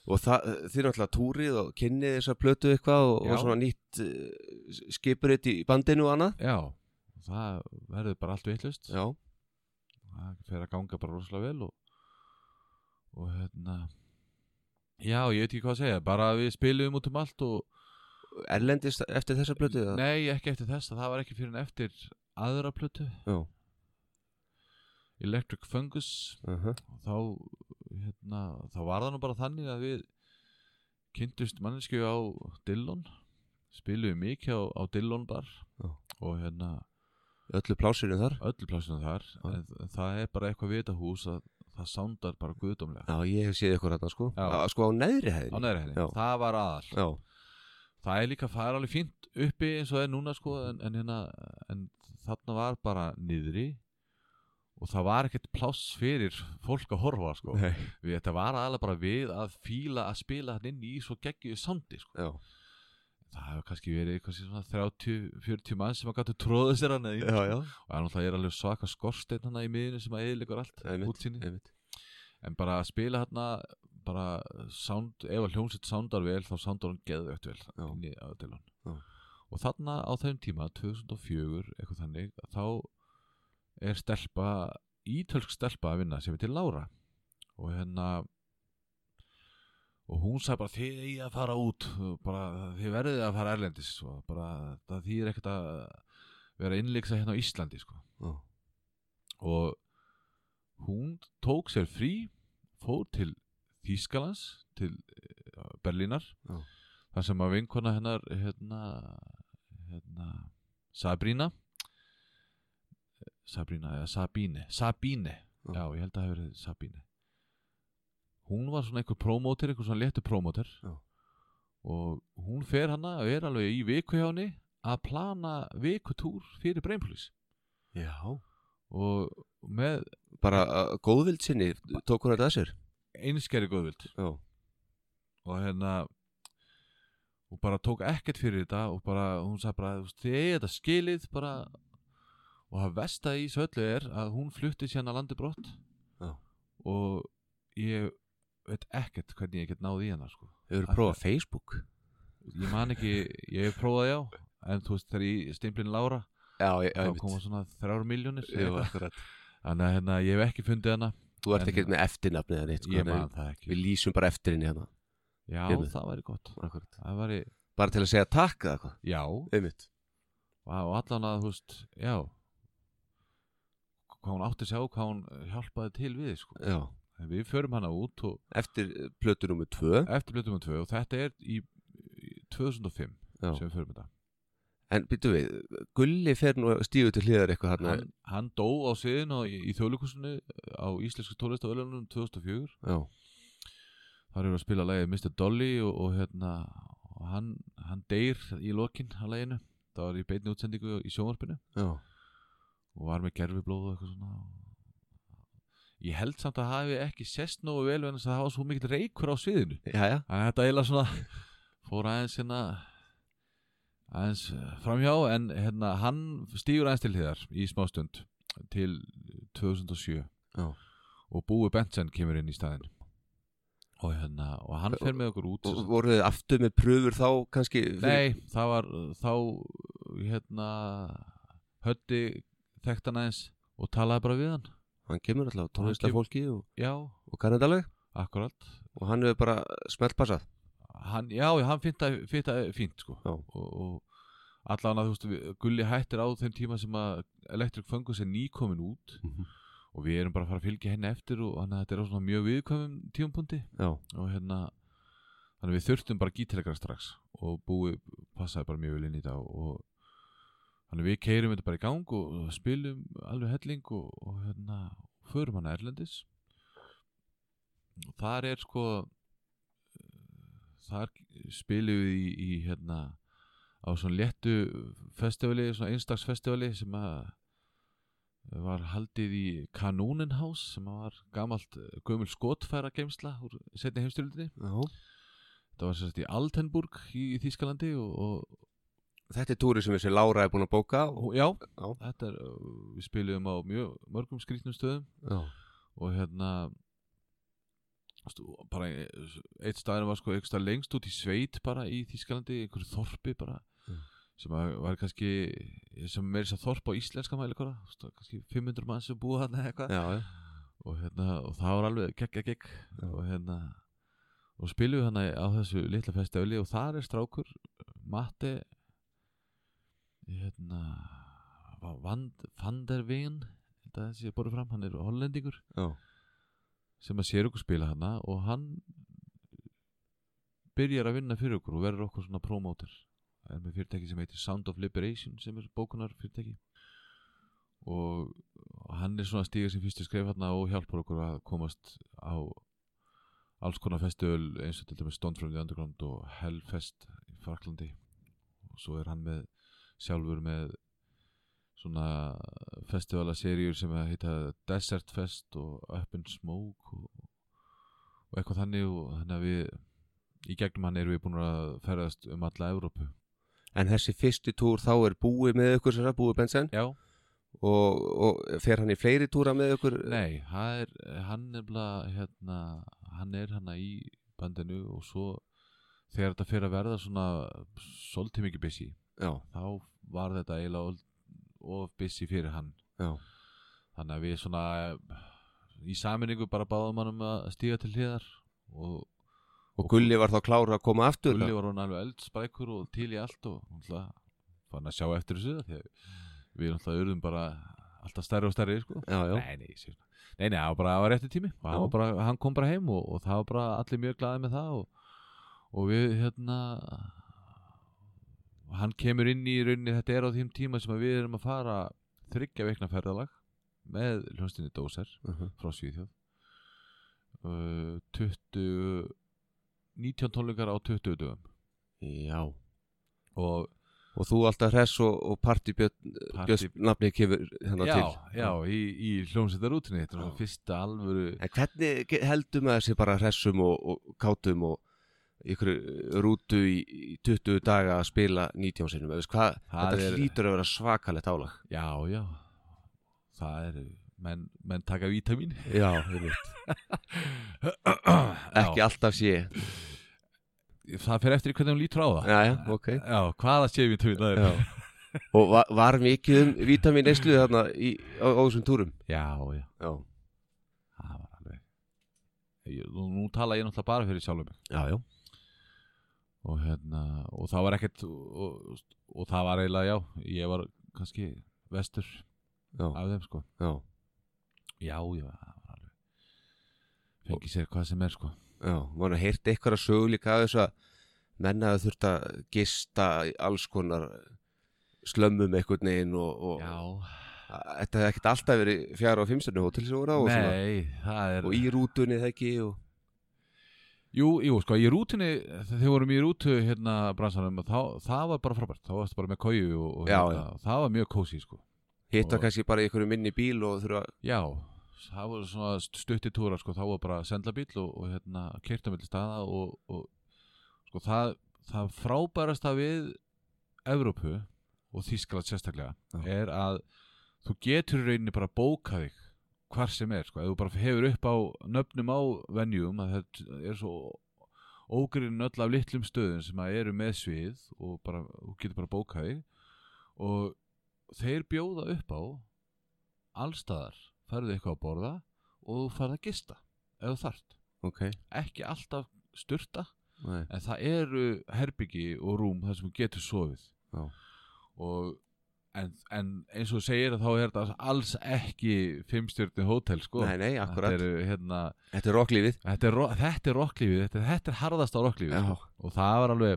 og það, þið náttúrulega túrið og kynnið þessar plötu eitthvað og, Já. og svona nýtt uh, skipuritt í bandinu og annað já, það verður bara allt vittlust já, það fer að ganga bara rosalega vel og, og hérna já, ég veit ekki hvað að segja bara að við spilum út um allt og erlendist eftir þessar plötu eða? nei, ekki eftir þessa, það var ekki fyrir en eftir aðra plötu, já, Electric Fungus uh og þá hérna, þá var það nú bara þannig að við kynntust mannesku á Dillon spilum mikið á, á Dillon bar Já. og hérna öllu plásinu þar öllu plásinu þar en, en það er bara eitthvað við þetta hús að það sándar bara guðdómlega já, ég hef séð ykkur hérna sko Já. Á- sko á neðri á hæðin neðri henni, Já. það var aðal já, það er líka, það er alveg fínt uppi eins og það er núna sko en, en, hérna, en þarna var bara niðri og það var ekkert pláss fyrir fólk að horfa sko Nei. við, þetta var aðalega bara við að fíla að spila hann inn í svo geggjuðu sandi sko. já, það hefur kannski verið kannski svona 30-40 mann sem að gætu tróðu sér hann já, já. og hann alltaf er alveg svaka skorsteinn hann í miðinu sem að eðilegur allt Einmitt, útsýni einmitt. en bara að spila hérna bara sound, ef að hljómsveit soundar vel þá soundar hann geðvögt vel Já. inn í aðdilun Já. og þarna á þeim tíma 2004 eitthvað þannig þá er stelpa ítölsk stelpa að vinna sem heitir Lára og hérna og hún sagði bara þið eigi að fara út og bara þið verðið að fara erlendis og bara það þýðir ekkert að vera innlíksa hérna á Íslandi sko já, og hún tók sér frí fór til Þýskalands til eh, Berlínar Já. þar sem að vinkona hennar hérna, hérna Sabrina eh, Sabrina eða Sabine Sabine, Já. já ég held að það hafi verið Sabine hún var svona einhver promóter, einhver svona léttur promóter Já. og hún fer hana og er alveg í viku hjá henni að plana vikutúr fyrir Brainpolis já. og með bara uh, góðvild sinni tók hún þetta að sér einskæri góðvild já, og hérna og bara tók ekkert fyrir þetta og bara, hún sagði bara, þú veist, þið eigið þetta skilið bara og það vesta í þessu öllu er að hún flutti sérna landi brott Já. og ég veit ekkert hvernig ég get náði í hana sko. hefur prófað Facebook ég man ekki, ég hef prófaði á en þú veist þegar ég stimplin Lára já, já, þá einmitt. koma svona þrjár miljónir já, þannig akkurat. að hérna, ég hef ekki fundið hana þú ert En- ekkert með eftirnafnið eða neitt, sko, ég nei, man það ekki við lýsum bara eftir henni hérna já, Gerðu. það væri gott Akkurat. það væri, bara til að segja takk eða hvað já, einmitt Vá, og allan að, þú veist, já hvað hún átti sig á, hvað hún eh, hjálpaði til við, sko já. En við förum hana út og eftir eh, plötu nummer 2 eftir blöndum og tvö og þetta er í, í 2005 Já. sem við förum hérna. þetta En býtu við, Gulli fer nú stíðu til hliðar eitthvað hérna hann, hann dó á sviðinu í, í þjóðleikusinu á Íslensku tónlist á Ölunum 2004 Já, þar eru að spila lagið Mr. Dolly og, og hérna og hann, hann deyr í lokin að laginu það var í beinni útsendingu í sjónvarpinu já, og var með gerfiblóð og eitthvað svona ég held samt að það hafi ekki sest nógu vel en það hafa svo mikill reykur á sviðinu já, já, þannig að þetta eiginlega svona [LAUGHS] fór aðeins hérna aðeins eh, framhjá en hérna hann stígur aðeins til hliðar í smástund til 2007 já. og Búi Benson kemur inn í staðin og hérna og hann fer með okkur út Og voru þið aftur með pröfur þá kannski fyrir- Nei, það var uh, þá hérna höndi þekkt hann aðeins og talaði bara við hann Hann kemur alltaf tónlistar fólki og, Já, og kannadaleg akkurat Og hann hefur bara smeltpassað hann, Já, já, hann fint að, fint að fínt sko Já. og, og allan að þú veist við- Gulli hættir á þeim tíma sem að Electric Fungus er nýkomin út Mhm. og við erum bara að fara að fylgja henni eftir og þannig að þetta er á svona mjög viðkvæmum tímapunkti Já, og hérna þannig að við þurftum bara gítilegra strax og búi passaði bara mjög vel inn í þetta og þannig að við keirum þetta bara í gang og spilum alveg helling og, og hérna förum hann erlendis og þar er sko þar spilum við í, í hérna á svona léttu festivali, svona einstaksfestivali sem að var haldið í Kanóninhás sem að var gamalt eh, gömul skotfæra geimsla úr setni heimstyrjöldinni já, það var sérst í Altenburg í, í Þýskalandi og, og, þetta er túri sem þessi Lára er búin að bóka og, Og- Já, Já. þetta er, uh, við spilum á mjög mörgum skrýtnum stöðum já, og hérna stú- bara eh, eitt staðin var sko eitt stað lengst út í sveit bara í Þískalandi, einhverju þorpi bara Mm. sem að var kannski sem meir þess að þorpa á íslenska mæli kannski 500 mann sem búið hann eða eitthvað já, já. og, hérna, og það var alveg gegg, gegg, gegg og hérna og spilum við hann á þessu litla festivali og þar er strákur Matti hérna Va- Vand, Van der Veen þetta sé borðu fram, hann er hollendingur já. sem að sér okkur spila hana og hann byrjar að vinna fyrir okkur og verður okkur svona promoter er með fyrirtæki sem heitir Sound of Liberation sem er bókunar fyrirtæki og og hann er svona að stíga sem fyrstu skref hérna og hjálpar okkur að komast á alls konar festival eins og til dæmis Stone from the Underground og Hellfest í Fraklandi og svo er hann með sjálfur með svona festivalarseríur sem að heita Desert Fest og Up in Smoke og, og eitthvað þannig og þannig að við í gegnum hann erum við búin að ferðast um alla Evrópu en þessi fyrsti túr þá er búið með ykkur sér að búið bensin Já, og, og fer hann í fleiri túra með ykkur nei, það er, hann er bara, hérna, hann er hann í bandinu og svo þegar þetta fyrir að verða svona svolítið mikið busy já, þá var þetta eiginlega of- of busy fyrir hann já, þannig að við svona eh, í saminningu bara báðum hann um að stíga til hliðar og og Gulli var þá klára að koma aftur Gulli var hann alveg eldspækur og til í allt og náttúrulega fann að sjá eftir þessu því að við náttúrulega urðum bara alltaf stærri og stærri sko. já, já, Nei, nei, sér. nei, nei, það var bara það var rétti tími og hann, Já. var bara, hann kom bara heim og, og það var bara allir mjög glaðið með það og, og við hérna hann kemur inn í rauninni þetta er á þeim tíma sem að við erum að fara þryggja veikna ferðalag með hljónstinni Dóser uh frá Svíþjóð uh, 20 19 tónleikar á 20 dögum já og og þú alltaf hress og, og partybjörn Party- björns nafni kefur hennar já, hérna til já, í, í hljómsveitarútinni þetta er Já. svona fyrsta alvöru en hvernig ge- heldum að þessi bara hressum og, og kátum og ykkur rútu í, í 20 daga að spila 19 sinum eða veist hvað, Það þetta er- hlýtur að vera svakalegt álag já, já það er, menn, menn taka vítamin já, [COUGHS] einmitt. ekki alltaf sé það fer eftir hvernig hún lítur á það já, já, ok já hvaða sé vítamin það er já. og var, var mikið um vítamin neyslu þarna í, á, á þessum túrum já, já, já, það var alveg ég, nú, nú tala ég náttúrulega bara fyrir sjálfum mig já, já. og hérna, og það var ekkert og, og, og það var eiginlega, já ég var kannski vestur Já. af þeim sko já. já, já, það var alveg fengi sér hvað sem er sko Já, maður hefði heyrt eitthvað að sögu líka að þess að menna að þurft að gista í alls konar slömmum einhvern veginn og, og að- þetta hefði ekkert alltaf verið fjara og fimmstunni hótel sem voru á og, svona, Nei, það er og í rútunni það ekki og, Jú, jú, sko, í rútinni þegar við vorum í rútu hérna bransanum þá, það var bara frábært, þá varstu bara með kóju og, og Já, hérna, það var mjög kósi, sko hitta Og- kannski bara í einhverju minni bíl og þurfa Já, það var svona stutti túra, sko, þá var bara sendlabíl og, og hérna, keirtum milli staða og, og sko, það, það frábærasta við Evrópu og Þískaland sérstaklega Já. er að þú getur í rauninni bara bóka þig hvar sem er, sko, ef þú bara hefur upp á nöfnum á venjum að þetta er svo ógrinn öll af litlum stöðum sem að eru með svið og bara, þú getur bara bókað þig og þeir bjóða upp á allstaðar færðu eitthvað að borða og þú færðu að gista ef þú þart, ok, ekki alltaf styrta nei, en það eru herbyggi og rúm þar sem þú getur sofið Já. og en, en eins og þú segir að þá er þetta alls ekki fimmstjörni hótel sko nei, nei Þetta akkurat, þetta er, eru, hérna, þetta er rocklífið þetta er, ro- þetta er rocklífið, þetta, er- þetta er harðasta rocklífið já, sko. og það var alveg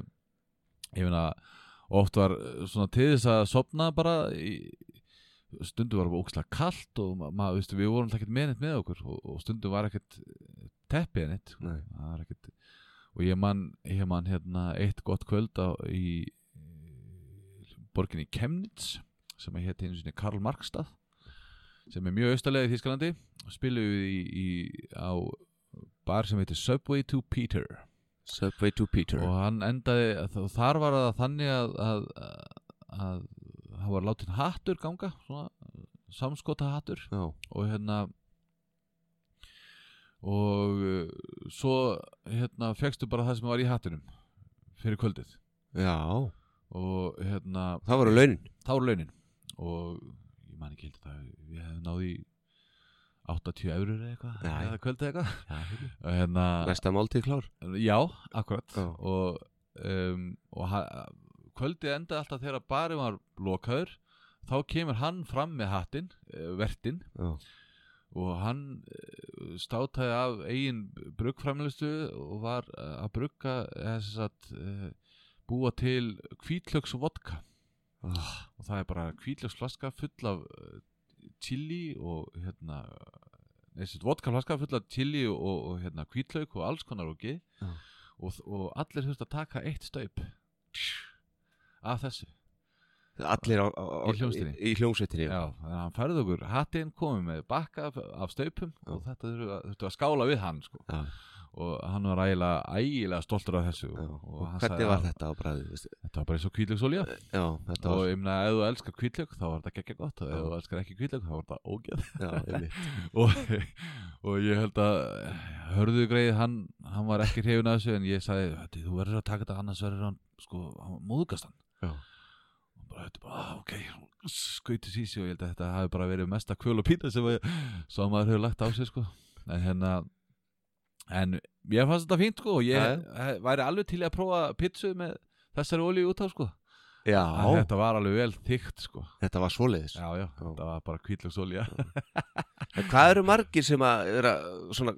ég finna, oft var eh, svona til þess að sopna bara í, stundum var bara ókslega kalt og ma- maður, veistu, við vorum ekkert með neitt með okkur og, og stundum var ekkert teppið neitt sko. Nei. Það var ekkert, og ég man, ég man hérna, eitt gott kvöld á, í, í borginni Chemnitz sem að hétt einu sinni Karl Markstað sem er mjög austalega í Þískalandi og spilum við í, í, á bar sem heitir Subway to Peter Subway to Peter og hann endaði, þ- þar var það þannig að, að, að það var látin hattur ganga svona samskota hattur já, og hérna og uh, svo hérna fegstu bara það sem var í hattinum fyrir kvöldið já, og hérna það voru launin þá er launin og ég man ekki held að það við hefum náð í 80 eurur eða eitthvað Já, já. eða kvöld eða eitthvað og hérna, næsta máltíð klár já, akkurat Já. og, um, og ha- kvöldið enda alltaf þegar barið var lokaður þá kemur hann fram með hattinn, eh, vertinn já, og hann eh, státaði af eigin bruggframlistu og var eh, að brugga eða sem sagt eh, búa til kvítlöks vodka og það er bara kvítlöks flaska full af eh, chili og hérna neðsett vodka flaska full af chili og, og hérna kvítlauk og alls konar og Já. og, og allir þurft að taka eitt staup af þessu allir á, á, á, Í hljómsveitinni. í, í hljómsveitinni já. Já, þannig að hann færði okkur hattinn, komið með bakka af- af staupum Já. og þetta þurftu að, þurftu að skála við hann sko. Já. og hann var ægilega, ægilega stoltur af þessu Já. og, sko. Og hann hvernig sagði var að- þetta á bræðu veistu? Þetta var bara eins og kvítlöksolja já, þetta og var ég meina ef þú elskar kvítlök þá var þetta ekki ekki gott og ef Já. þú elskar ekki kvítlök þá var þetta ógeð já, einmitt. og, [LAUGHS] og ég held að eh, hörðu greið hann, hann var ekki hrifin að þessu en ég sagði "Þetta- þú verður að taka þetta annars verður hann sko, hann móðgast hann Já. og bara þetta bara "Ah, ok skauti sísi og ég held að þetta hafi bara verið mesta kvöl og píta sem að, svo að maður hefur lagt á sig sko en hérna en ég fannst þetta fínt sko og ég Já, væri alveg til í að prófa pítsu með þessari olíu út á sko [LAUGHS] já, en þetta var alveg vel þykkt sko þetta var svoleiðis já já, þetta var bara kvítlöksolja En hvað eru margir sem að er að, svona,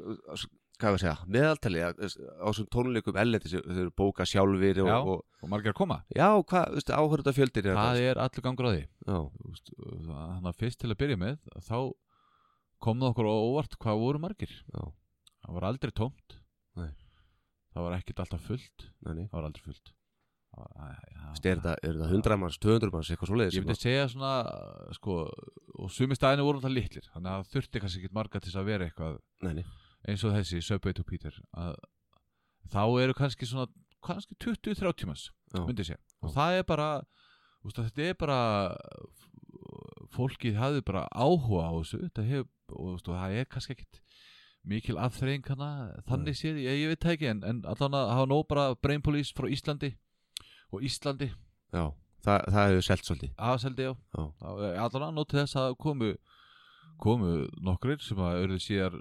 hvað við segja, meðaltali á þessum tónleikum elleti sem þau eru bóka sjálfir og, Já. og og margir að koma já, hvað, veistu, áhörða fjöldir er það er allur gangur á því Já, þannig að fyrst til að byrja með þá kom það okkur á óvart hvað voru margir Já. það var aldrei tómt Nei. það var ekkert alltaf fullt næni það var aldrei fullt Það var- æ, æ, það- Er þetta er þetta 100 manns, 200 manns, eitthvað svoleiðis ég myndi segja svona sko, og sumi staðinu voru alltaf litlir þannig að það þurfti kannski ekki marga til þess að vera eitthvað Næni, eins og þessi Subway to Peter að, þá eru kannski svona kannski 20-30 manns Já. myndi ég segja og það er bara úst, þetta er bara f- fólkið hafði bara áhuga á þessu þetta hef, og, úst, og það er kannski ekkit mikil afþreying hana þannig séð, ég, ég veit það ekki en, en allan að hafa nóg bara Brain Police frá Íslandi og Íslandi já, það, það hefur selt svolítið aðseldi já Já. Þá- eh, allan að nóti þess að komu komu nokkrir sem að örðu síðar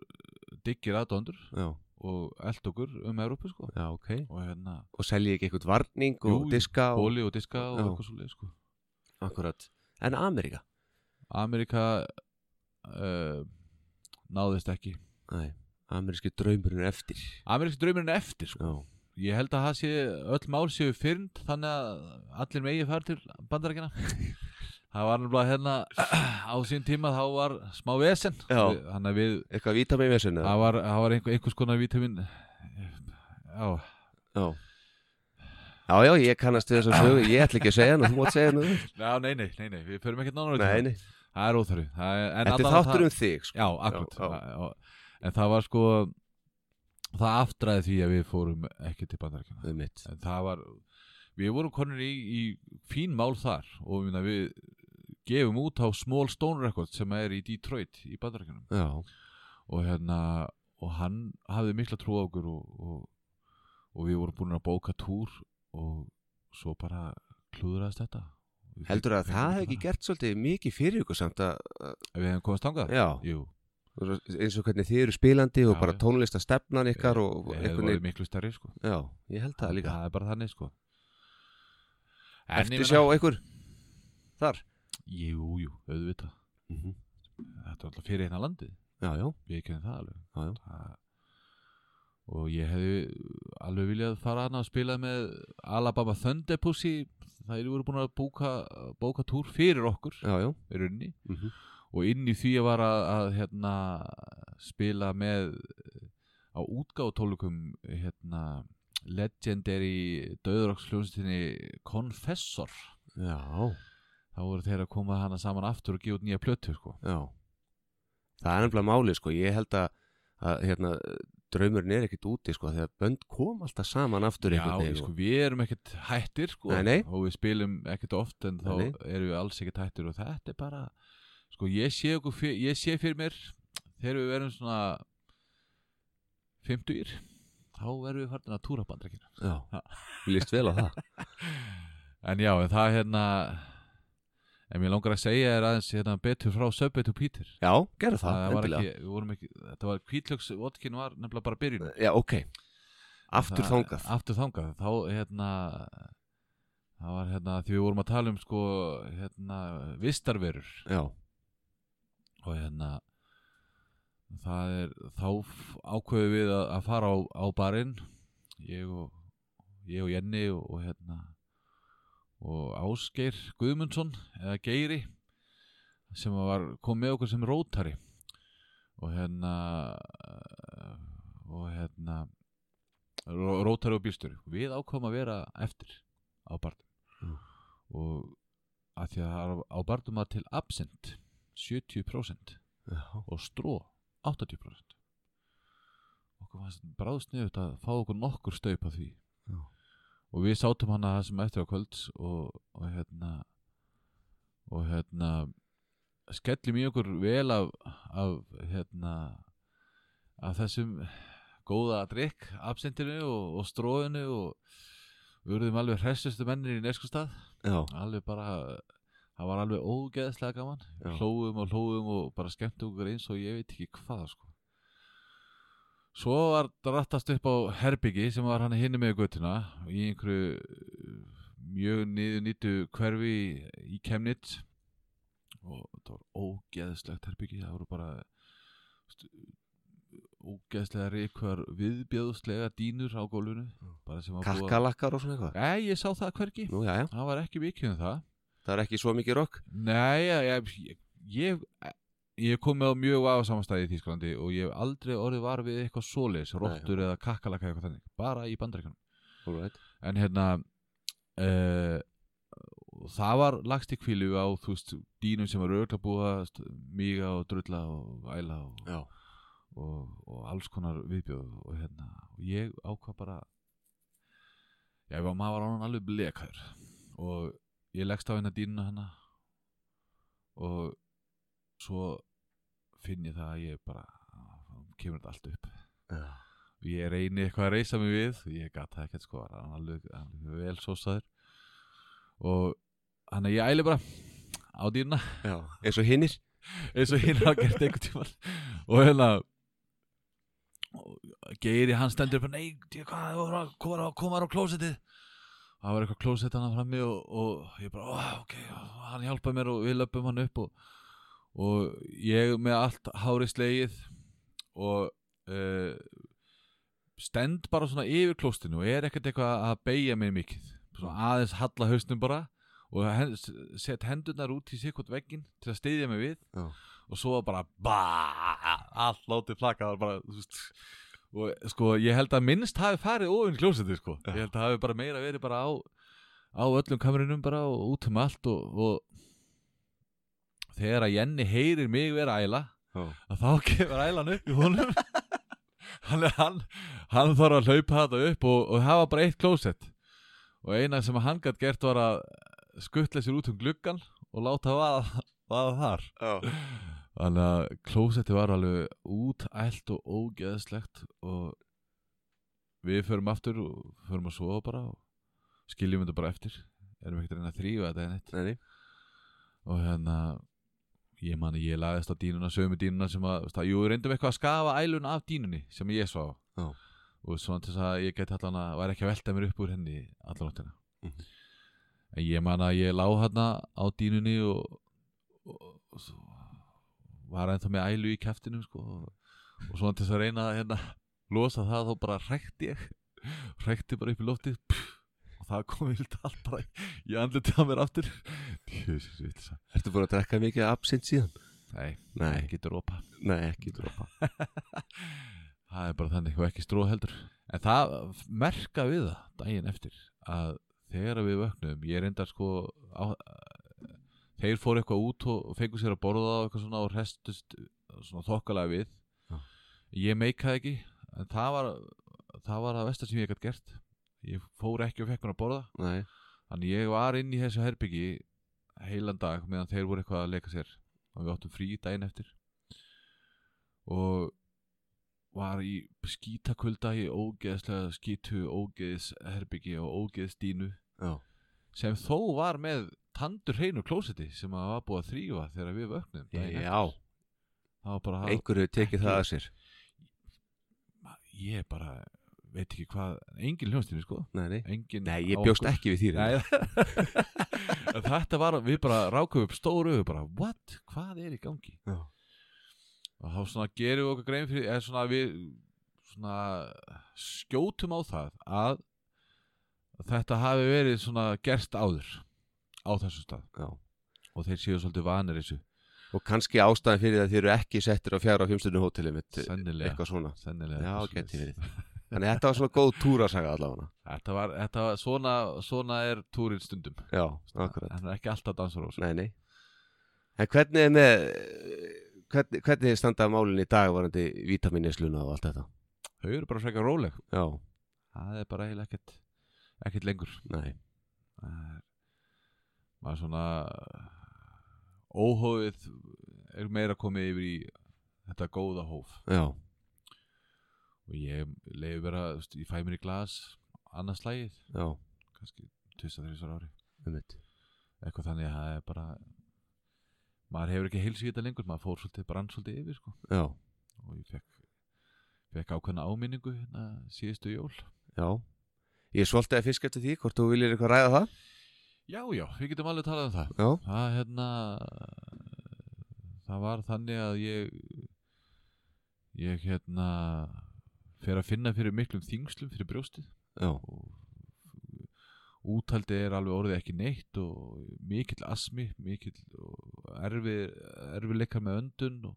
diggir aðdóndur Já, og eld okkur um Európu sko já, ok og hérna Og selji ekki eitthvað varning og Jú, jú, diska og, bóli og diska og Já. eitthvað svo sko Akkurat, en Ameríka Amerika uh, náðist ekki Næ, ameríski draumurinn er eftir Ameríksk draumurinn er eftir sko Já, ég held að það sé öll mál séu fyrnd þannig að allir megi fara til [LAUGHS] bandarækina það var náttúrulega hérna á sín tíma þá var smá vesen Já. Við- þannig að við eitthvað víta með mér sinna það var, það var einhver, einhvers konar vítamin já Já Já, já, ég kannast við þess að sögu, ég ætla ekki að segja hana, þú mátt [LAUGHS] segja hana Já, nei, nei, nei, nei, við förum ekkert nánar út í Nei, það. nei, Það er óþörfi það er- en þetta er allavega það- þáttur um þig sko. Já, akkurat já. já, En það var sko Það aftræði því að við fórum ekki til bandarækina um mitt En það var Við vorum konur í, í fín mál þar Og minna, við gefum út á Small Stone Records sem er í Detroit í bandarækina Já, og hérna og hann hafði mikla trú á okkur og, og, og við vorum búin að bóka túr og svo bara klúðraðist þetta Við heldur fengum að það hef fara. ekki gert svolítið mikið fyrir ykkur samt að, Ef Við hefum komast þangað? já, Jú, eins og hvernig þið eru spilandi og Já, bara já. tónlista stefnan ykkar og við hefum einhvern verið veginn, miklu stærri sko já, ég held það líka er bara þannig sko En ég Eftir meina- sjá ykkur þar Jú, jú, auðvitað Mhm. Þetta er alltaf fyrir hérna landið Já, já, Við kennum það alveg já, já, það... Og ég hefði alveg viljað fara hana og spila með Alabama Thunder Pussy Það eru voru búin að bóka, bóka túr fyrir okkur já, já. í rauninni Mhm. og inn í því var að, að hérna, spila með á útgáðutólukum hérna, legendary döðuroksljónstinni Confessor já, þá voru þeir að koma hana saman aftur og gefa út nýja plötu sko. já Það er nefnilega málið sko, ég held að, að hérna, draumurinn er ekkit úti sko þegar bönd kom alltaf saman aftur Já, einhvern ég, veginn sko, við erum ekkert hættir sko, Nei, nei. og við spilum ekkert oft en þá Nei, erum við alls ekkert hættir og þetta er bara sko, ég, sé okkur, fyr- ég sé fyrir mér þegar við verum svona 50 ír þá verðum við farin að túra bandrekinu og, já, mér líst vel á það En já, en það er hérna En mér langar að segja þér aðeins hérna, betur frá Subway to Peter [LAUGHS] Já, gerðu það, var endilega ekki, við vorum ekki Þetta var kvítlöks, vodkin var nefnilega bara byrjun Já, ok, aftur Það- þangað Aftur þangað, þá hérna Það var hérna, því við vorum að tala um sko, hérna, vistarverur Já, og hérna það er, þá ákveðum við að, að fara á, á barinn ég og, ég og Jenny og, og hérna og Ásgeir Guðmundsson eða Geiri sem var, kom með okkur sem rótari og hérna eh, og hérna ró- rótari og býstur við ákvæmum að vera eftir á barnum Mm. og að því að það er á barnum að til absent 70% já, og stró 80% okkur fannst bráðsniðut að fá okkur nokkur staup af því Já. og við sátum hana það sem eftir á kvölds og, og hérna og hérna skellum í okkur vel af, af hérna af þessum góða drikk absentinu og, og stróinu og við urðum alveg hressustu mennir í neskustad já, alveg bara það var alveg ógeðslega gaman Já. hlóðum og hlóðum og bara skemmtum okkur eins og ég veit ekki hvað sko. svo var drattast upp á herbyggi sem var hann hinni með göttuna í einhverju uh, mjög niður nýttu hverfi í- í Kemnit og þetta var ógeðslegt herbyggi það voru bara stu, ógeðslega reykvar viðbjöðslega dínur á gólfinu bara sem var búið að- kakkalakkar og svona eitthvað Nei, ég sá það hvergi Nú, já, já, Það var ekki mikið um það. það er ekki svo mikið rock Nei, ég, ég, ég, ég hef komið á mjög vafa samanstæði í Þýskalandi og ég hef aldrei orðið var við eitthvað svoleiðis, róttur eða kakkalaka eitthvað þannig, bara í bandaríkanum. All right. En hérna, uh, það var lagst í kvílu á, þú veist, dýnum sem var örgla búið að míga og drulla og æla og Já, og, og alls konar viðbjóð og hérna, og ég ákvað bara já, ég var, maður var ánum alveg blekaður og ég leggst á hérna dýnuna hana og svo finn ég það að ég bara kemur þetta allt upp já, og ég reyni eitthvað að reysa mig við ég gat það ekkert sko, hann var alveg, alveg vel sósaður og hann að ég æli bara á dýruna já Eins og hinnir eins og hinn hafa gert einhvern tímann og hérna og Geiri hann stendur upp nei, djú, hvað, þú voru að- hvað var að koma þér á klósettið og það var eitthvað klósett hann frammi og, og ég bara, "Ó, ok og hann hjálpaði mér og við löpum hann upp og, og ég með allt hári slegið og uh, stend bara svona yfir klóstinu og er ekkert eitthvað að beigja mig mikið svona aðeins halla hausnum bara og hen, set hendurnar út í sikkot veggin til að steyðja mig við Já. og svo var bara bá, allt látið plaka það var bara þú veist, og sko ég held að minnst hafi farið ofinn klósetti sko Já. ég held að hafi bara meira verið bara á á öllum kamerunum bara og út um allt og, og þegar að Jenny heyrir mig vera að æla Já, að þá [LAUGHS] kemur ælan upp í honum hann, hann, hann þarf að hlaupa þetta upp og, og hafa bara eitt klósett og eina sem hann gætt gert var að skuttla sér út um gluggan og láta vaða, vaða þar já, þannig að klósetti var alveg útælt og ógeðslegt og við förum aftur og förum að sofa bara og skiljum þetta bara eftir erum ekkert að reyna að þrýfa þetta en eitt Nei, nei. og hérna ég man að ég lagðist á dínuna sömu dínuna sem að, veist það, jú, við reyndum eitthvað að skafa ælun af dínunni sem ég svá Já. og svona til þess að ég geti allan að væri ekki að velta mér upp úr henni allan áttina Mhm. en ég man að ég lá hérna á dínunni og, og, og svo var ennþá með ælu í kæftinum sko, og, og svona til þess að reyna að hérna, losa það þá bara hrækti ég hrækti bara upp í loftið pff, og það kom vilt allt bara í andlitið á mér aftur Jesus, vitleisa. Ertu búin að drekka mikið absint síðan? Nei, Nei, ekki dropa nei, ekki dropa Það er bara þannig og ekki stró heldur En það merka við það daginn eftir að þegar við vöknum ég reyndar sko á, þeir fóru eitthvað út og og fengu sér að borða og eitthvað svona og restust svona þokkalega við Já. Ég meikaði ekki en það var það var það vestar sem ég gætt gert ég fór ekki og fekk hún að borða Nei, þannig ég var inn í þessu herbyggi heilan dag meðan þeir voru eitthvað að leika sér og við áttum frí daginn eftir og var í skítakvölda í ógeðslega skítu ógeðs herbyggi og ógeðs dínu já, sem þó var með tandur hreinu klósetti sem að var búið að þrýfa þegar við vöknum já það var bara það einhverju tekið það að sér ég bara veit ekki hvað engin hljónstíni sko Nei, nei, engin nei ég bjóst ekki við þýri Nei, [LAUGHS] En þetta var, við bara rákum upp stóru augu bara, what, hvað er í gangi Já. og þá svona gerum við okkur grein fyrir, eða svona við svona skjótum á það að þetta hafi verið svona gerst áður á þessum stað Já. og þeir séu svolítið vanir þessu Og kannski ástæðan fyrir það að þið eru ekki settir á fjara og fimmstunni hóteli mitt sennilega, Eitthvað svona sennilega Já, eitthvað geti svoleiðis. Þannig að þetta var svona góð túrasaga allavega þetta var, þetta var svona, svona er túrin stundum Já, akkurat hann er ekki alltaf dansar á Nei, nei En hvernig er með hvernig, hvernig standaði málinn í dag varandi vítaminnesluna og allt þetta þau eru bara frekar róleg Já, það er bara eiginlega ekkert ekkert lengur nei, Það er- maður svona óhóðið er meira komið yfir í þetta góða hóf já, og ég leiði vera, þú veist, ég fæ mér í glas annars lagið, já, kannski 23 ári, um mitt eitthvað þannig að það er bara maður hefur ekki heilsu í þetta lengur, maður fór svolítið brann svolítið yfir sko. Já, og ég fekk, fekk ákveðna áminningu hérna síðustu jól já Ég svolti að fisk eftir því, hvort þú viljir eitthvað ræða það já, já, við getum alveg talað um það Já, það hérna það var þannig að ég ég hérna fer að finna fyrir miklum þingslum fyrir brjóstið já, og úthaldið er alveg orðið ekki neitt og mikill asmi mikill og erfi erfileikar með öndun og,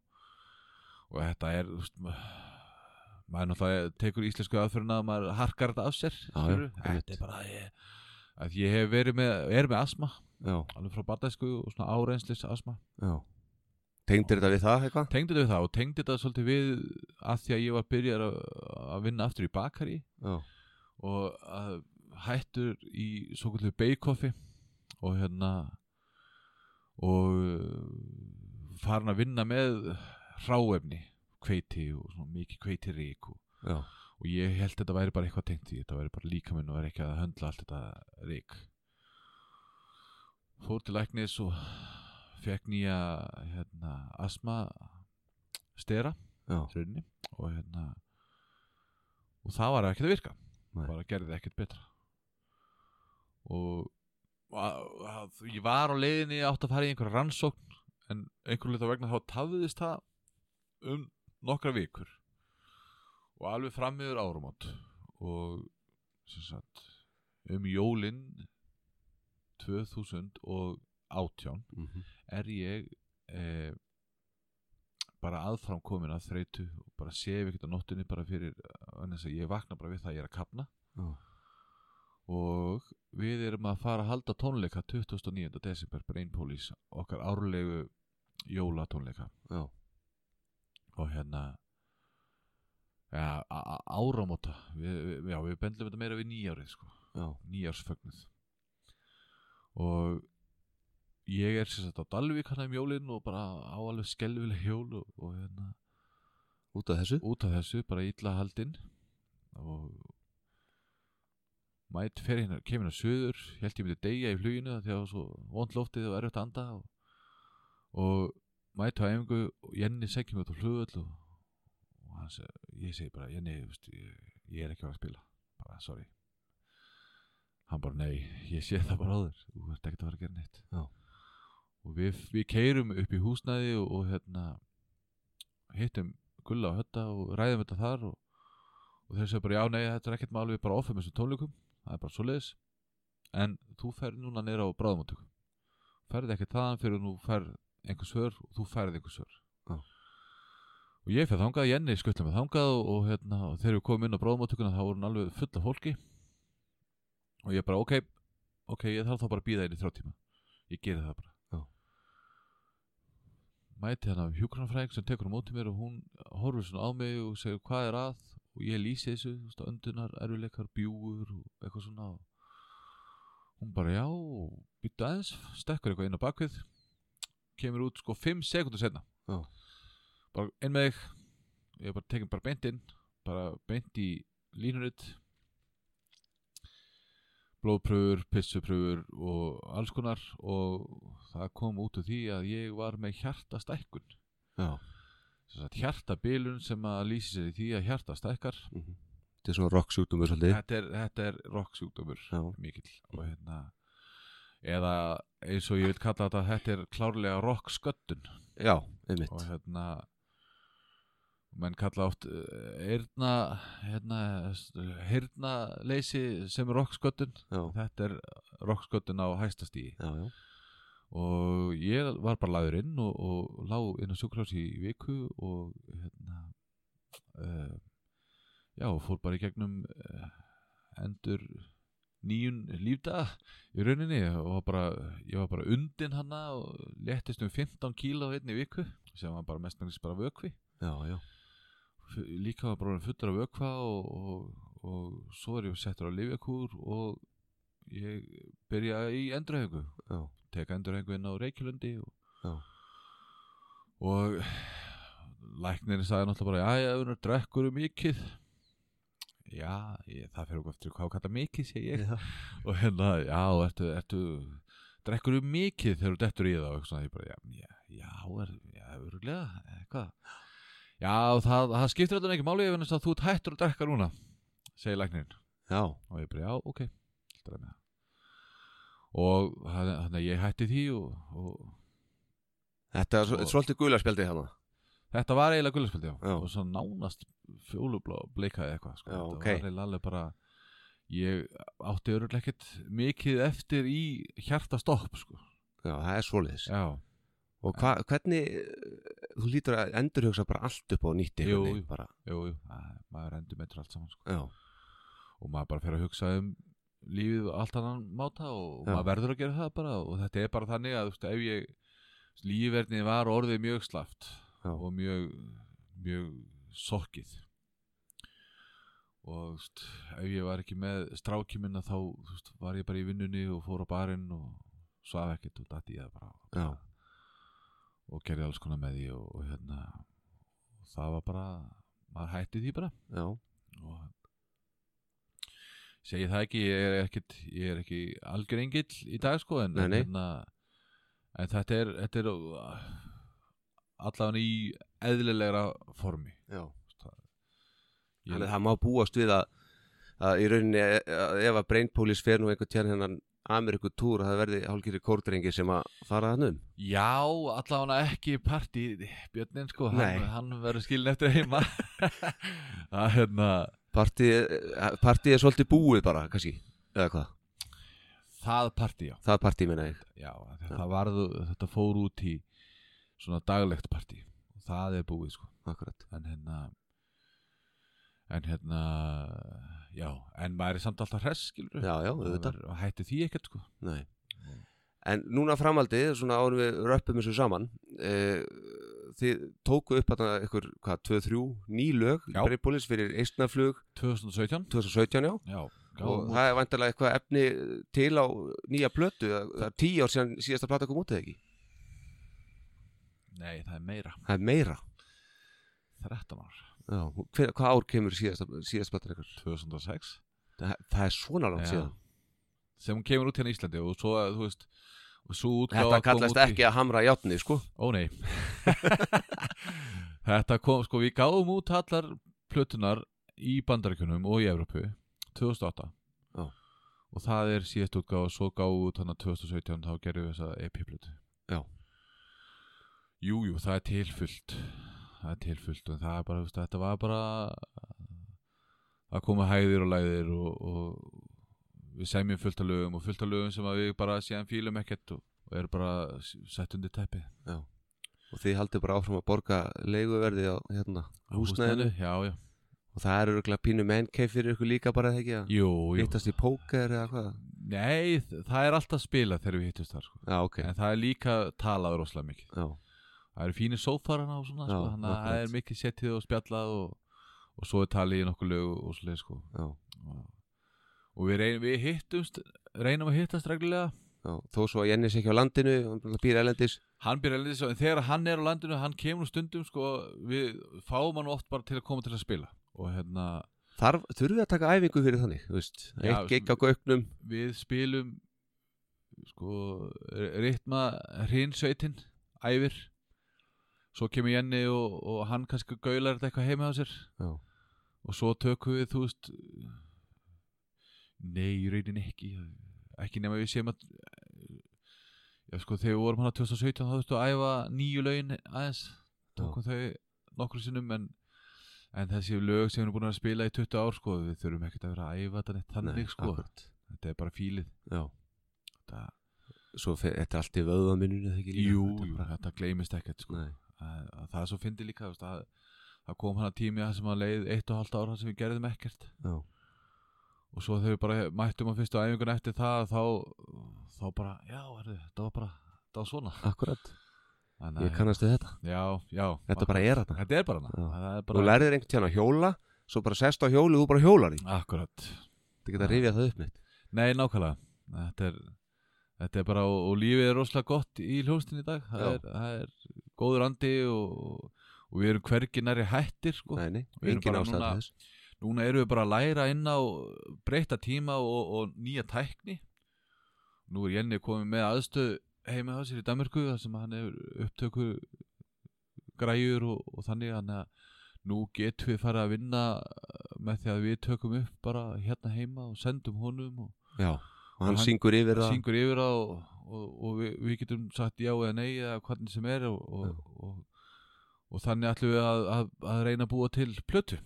og þetta er þú veist, ma- maður náttúrulega tekur íslensku aðferðina að maður harkar þetta af sér já, skilurðu. einmitt. þetta er bara að ég, að ég hef verið með er með asma já, alveg frá barndæsku og svona áreinslis asma já Tengdir þetta við það eitthvað? tengdi þetta við það og tengdi þetta svolítið við að því að ég var byrjar að, að vinna aftur í bakari Já, og að hættur í svo kvöldu beikoffi og hérna og uh, farin að vinna með hráefni kveiti og svona mikið kveiti rík og, já, og ég held þetta væri bara eitthvað tengt í þetta væri bara líkaminn og er ekki að höndla allt þetta rík fór til læknis og fekk nýja hérna, asma stera já, runni og hérna og það var ekkert að virka Nei. bara gerði það ekkert betra og að, að, ég var á leiðinni átt að fara í einhverja rannsókn en einhverju hluta vegna þá tafiðist það um nokkra vikur og alveg fram yfir áramót og sem sagt um jólin 2018 mhm, er ég eh, bara aðfram komin að þreytu og bara sef ekkert á nóttunni bara fyrir vegna þess að ég vakna bara við það að ég er að kapna já, og við erum að fara að halda tónleika 29. desember Brain Police okkar árlegu jólatónleika já, og hérna ja, á- á- áramóta við, við, já, við bendlum þetta meira við nýjárið sko já, nýjársfögnuð og ég er sem sagt á Dalvík hann um jólinn og bara á alveg skelvileg jól og, og hérna, út af þessu út af þessu bara illa haldinn og mætt fer hérna, kemur hérna söður ég held ég myndi deyja í fluginu af því að það var svo vond loftið og erfitt að anda og, og mætt á einhver og Jenny segjum út á flugvöll og, og hann seg, ég segi bara Jenny, þú veist, ég, ég er ekki að fara að spila bara sorry hann bara nei, ég sé það bara á þér þú ert ekkert að fara að gera neitt Já. og við, við keirum upp í húsnæði og, og hérna hittum gulla og hötta og ræðum þetta þar og, og þeir segja bara já, nei, þetta er ekkert mál við bara ofum þessum tónleikum, það er bara svoleiðis en þú fer núna neyra á bráðumáttöku ferð ekki þaðan fyrir þú ferð einhver svör og þú ferð einhver svör Já. og ég fer þangað, Jenny skuttla mig þangað og, og, hérna, og þegar við komum inn á bráðumáttökuna þá voru hún alveg full af fólki og ég bara ok, ok, ég þarf þá bara að býða inn í þrjá tíma ég geri það bara Já. mæti hann af hjúkranfræðing sem tekur á móti mér og hún horfir svona á mig og segir hvað er að og ég lýsi þessu, þú veist, öndunar erfileikar, bjúgur og eitthvað svona og hún bara já og býttu aðeins, stekkur eitthvað inn á bakvið kemur út sko 5 sekundur setna Já. bara inn með þig ég bara tekin bara beint inn bara beint í línuritt blóðpröfur, pissupröfur og alls konar og það kom út úr því að ég var með hjartastækkun Já. Sem sagt, hjartabilun sem að lýsi sér í því að hjarta stækkar Mhm. Þetta er svona rock sjúkdómur svolítið þetta er, þetta er rocksjúkdómur Já. mikill og hérna eða eins og ég vil kalla þetta þetta er klárlega rocksköttun Já, einmitt og hérna menn kalla oft eirna hérna, hérna leysi sem er rocksköttun Já, þetta er rocksköttun á hæstastíi já, já og ég var bara lagður inn og, og lá inn á sjúkrás í viku og hérna uh, já, fór bara í gegnum uh, endur nýjun lífdaga í rauninni og var bara, ég var bara undin hana og léttist um 15 kíla á einni viku sem var bara mest nægis bara vökvi Já, já, F- líka var bara fullur af vökva og, og, og svo er ég settur á lifjakúr og ég byrja í endurhefingu já, teka endurhengu inn á Reykjalundi og, Já. og læknirinn sagði náttúrulega bara, já, já, unnur, drekkur um mikið já, ég, það fyrir okkur eftir hvað þú kallar mikið, segi ég já. [LAUGHS] og hérna, já, ertu, ertu drekkur um mikið þegar þú dettur í það og eitthvað svona, ég bara, já, já, já, er, já öruglega, eitthvað já, það, það skiptir alltaf ekki máli ef hann að þú ert hættur að drekka núna segi læknirinn já. og ég bara, já, ok Þetta er með það og þannig þannig að ég hætti því og, og Þetta er svo- Og- svolítið gula spjaldið hérna. hana þetta var eiginlega gullarspildi já. Já. og svo nánast fjólublá bleikaði eitthvað sko. Já, þetta ok. var eiginlega alveg bara ég átti örugglega ekkert mikið eftir í hjartastopp sko. Já, það er svoleiðis já, Og hva, hvernig, eh, þú lítur að endurhugsa bara allt upp á nýtti Jú, jú. bara, jú, jú Æ, maður endur meitur allt saman sko. Já, og maður bara fer að hugsa um lífið á allt annan máta og Já. maður verður að gera það bara og þetta er bara þannig að þú veist, ef ég lífverðni var orðið mjög slaft Já. og mjög mjög sokkið og þú veist, ef ég var ekki með strákiminna þá þú veist, var ég bara í vinnunni og fór á barinn og svaf ekkert og dætti ég það bara já, og gerði alls konar með því og, og hérna og það var bara, maður hætti því bara já og segi það ekki, ég er, ekkit, ég er ekki algjör engill í dag sko en, Nei, nei. Hérna, en þetta er, þetta er allavega í eðlilegra formi Já ég, Þannig að það má búast við að, að í rauninni að ef að Brainpolis fer nú einhvern tján hennan Ameriku túr að það verði hálfgerði kórdrengi sem að fara hann um Já, allavega ekki partí Björnin sko, Nei. hann, hann verður skilin eftir [LAUGHS] heima Það er hérna Partið eh, partí er svolítið búið bara, kannski eða hvað, það partí já, það partí minna ég já þetta, varðu, þetta fór út í svona daglegt partí það er búið sko Akkurat, en hérna en hérna já, en maður er samt alltaf hress skilur já, já, auðvitað og hætti því ekkert sko Nei. En núna framhaldið, svona árum við röppum þessu saman eh, þið tóku upp að ykkur, hvað, 2-3 ný lög Já. Brainpolis fyrir eistnaflug 2017, 2017 já já og gáum út, það er vantilega eitthvað efni til á nýja plötu það það er tíu ár síðan síðasta plata kom út eða ekki nei það er meira það er meira 13 ár, Já, hver, hvað ár kemur síðasta, síðasta platan ykkur 2006 það, það er svona langt Já. síðan sem hún kemur út hérna í Íslandi og svo að þú veist og svo útgáfa þetta kom kallast út í- ekki að hamra játni sko Ó nei [LAUGHS] Þetta kom, sko við gáum út allar plötunar í bandaríkunum og í Evrópu 2008 Já. og það er síðast útgáð og svo gáum út þannig 2017 þá gerum við þessa EP-plötu Já. Jú, jú, það er tilfullt það er tilfullt en það er bara, þú veist, þetta var bara það komu hæðir og læðir og, og við semjum fullt af lögum og fullt af lögum sem að við bara síðan fílum ekkert og, og er bara sett undir teppi og þið haldið bara áfram að borga leiguverði á hérna Á húsnæðinu Já, já og það er örgulega pínu mennkæf fyrir ykkur líka bara eða ekki að Jú, jú hittast í póker eða hvað Nei, þ- það er alltaf spila þegar við hittumst þar sko. já ok En það er líka talað rosalega mikið já, Það eru fínir sófar hana og svona Já, sko, Þannig að það akkurat. er mikið settið og spjallað og, og svo er talið í nokkuð lög og svo leið sko já, og við, reyn, við hittumst reynum að hittast reglulega já, þó svo að Jenny sé ekki á landinu hann býr elendis hann byrja að lýsa en þegar hann er á landinu hann kemur nú stundum sko við fáum hann oft bara til að koma til að spila og hérna Þarf, þurfum við að taka æfingu fyrir þannig, þú veist Já, eitt gig á gögnum, við spilum sko ritma hrinsveitin æfir svo kemur Jenny og, og hann kannski gaular þetta eitthvað heima á sér Já. og svo tökum við þú veist nei, í rauninni ekki ekki nema við séum að já sko þegar við vorum hann á 2017 þá þurftu að æfa nýju lögin aðeins tókum þau nokkur sinnum en, en þessi lög sem við erum búin að spila í 20 ár sko við þurfum ekkert að vera að æfa þetta neitt þannig sko akkurat. þetta er bara fílið Já, þetta, svo fer, þetta er allt í vöðvaminunni eða ekki líka? jú, Þetta er jú, bara- þetta gleymist ekkert sko. Nei, að, að það er svo fyndi líka þú veist, að, að kom hann að tími að sem að leið eitt og halvt ára sem við gerðum ekkert já, og svo þegar við bara mættum á fyrstu æfingun eftir það þá, þá bara, já, herri, þetta var bara þetta var svona akkurat, Þannig, ég kannast við þetta já, já, Þetta bara er þetta þetta er bara Já. hana það er Þú bara, lærðir einhvern tíðan að hjóla, svo bara sest á hjóli og þú bara hjólar því akkurat Þetta geta að rifja það upp neitt nei, nákvæmlega þetta er, þetta er bara, og, og lífið er rosalega gott í hljónstinni í dag það Já. er, það er góður andi og, og við erum hvergi nærri hættir sko. Nei, nei, Við erum engin bara ástæða núna- til þess Núna erum við bara að læra inn á breyta tíma og, og nýja tækni. Nú er Jenny komið með aðstöð heima hjá sér í Danmarku þar sem hann hefur upptöku græjur og, og þannig hann að nú getum við farið að vinna með því að við tökum upp bara hérna heima og sendum honum og Já, og hann hann- syngur yfir það syngur yfir það og, og, og við, við getum sagt já eða nei eða hvernig sem er og, og, og, og þannig ætlum við að, að, að reyna að búa til plötu.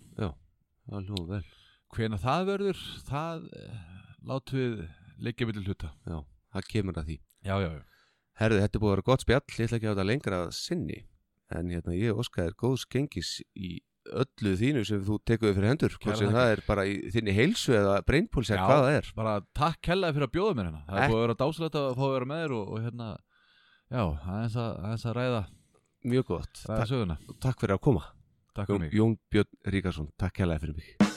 Það hljóðu vel hvena það verður það eh, látum við leggja mitt hluta Já, það kemur að því já, já, já. Herðu, þetta er búið að vera gott spjall, ég ætla ekki að hafa þetta lengra að sinni En hérna, ég óska þér góðs gengis í öllu þínu sem þú tekuðu fyrir hendur Kærar Hvort sem þakkir. það er bara í þinni heilsu eða brainpulse eða Já. hvað það er bara takk kellaði fyrir að bjóða mér hérna það Ek- er búið að vera dásalegt að fá að vera með þér og, og hérna já, aðeins að, aðeins að ræða Mjög gott, ræða söguna, takk, takk fyrir að koma takk fyrir Jón, mig Jón Björn Ríkarsson, takk hérlega fyrir mig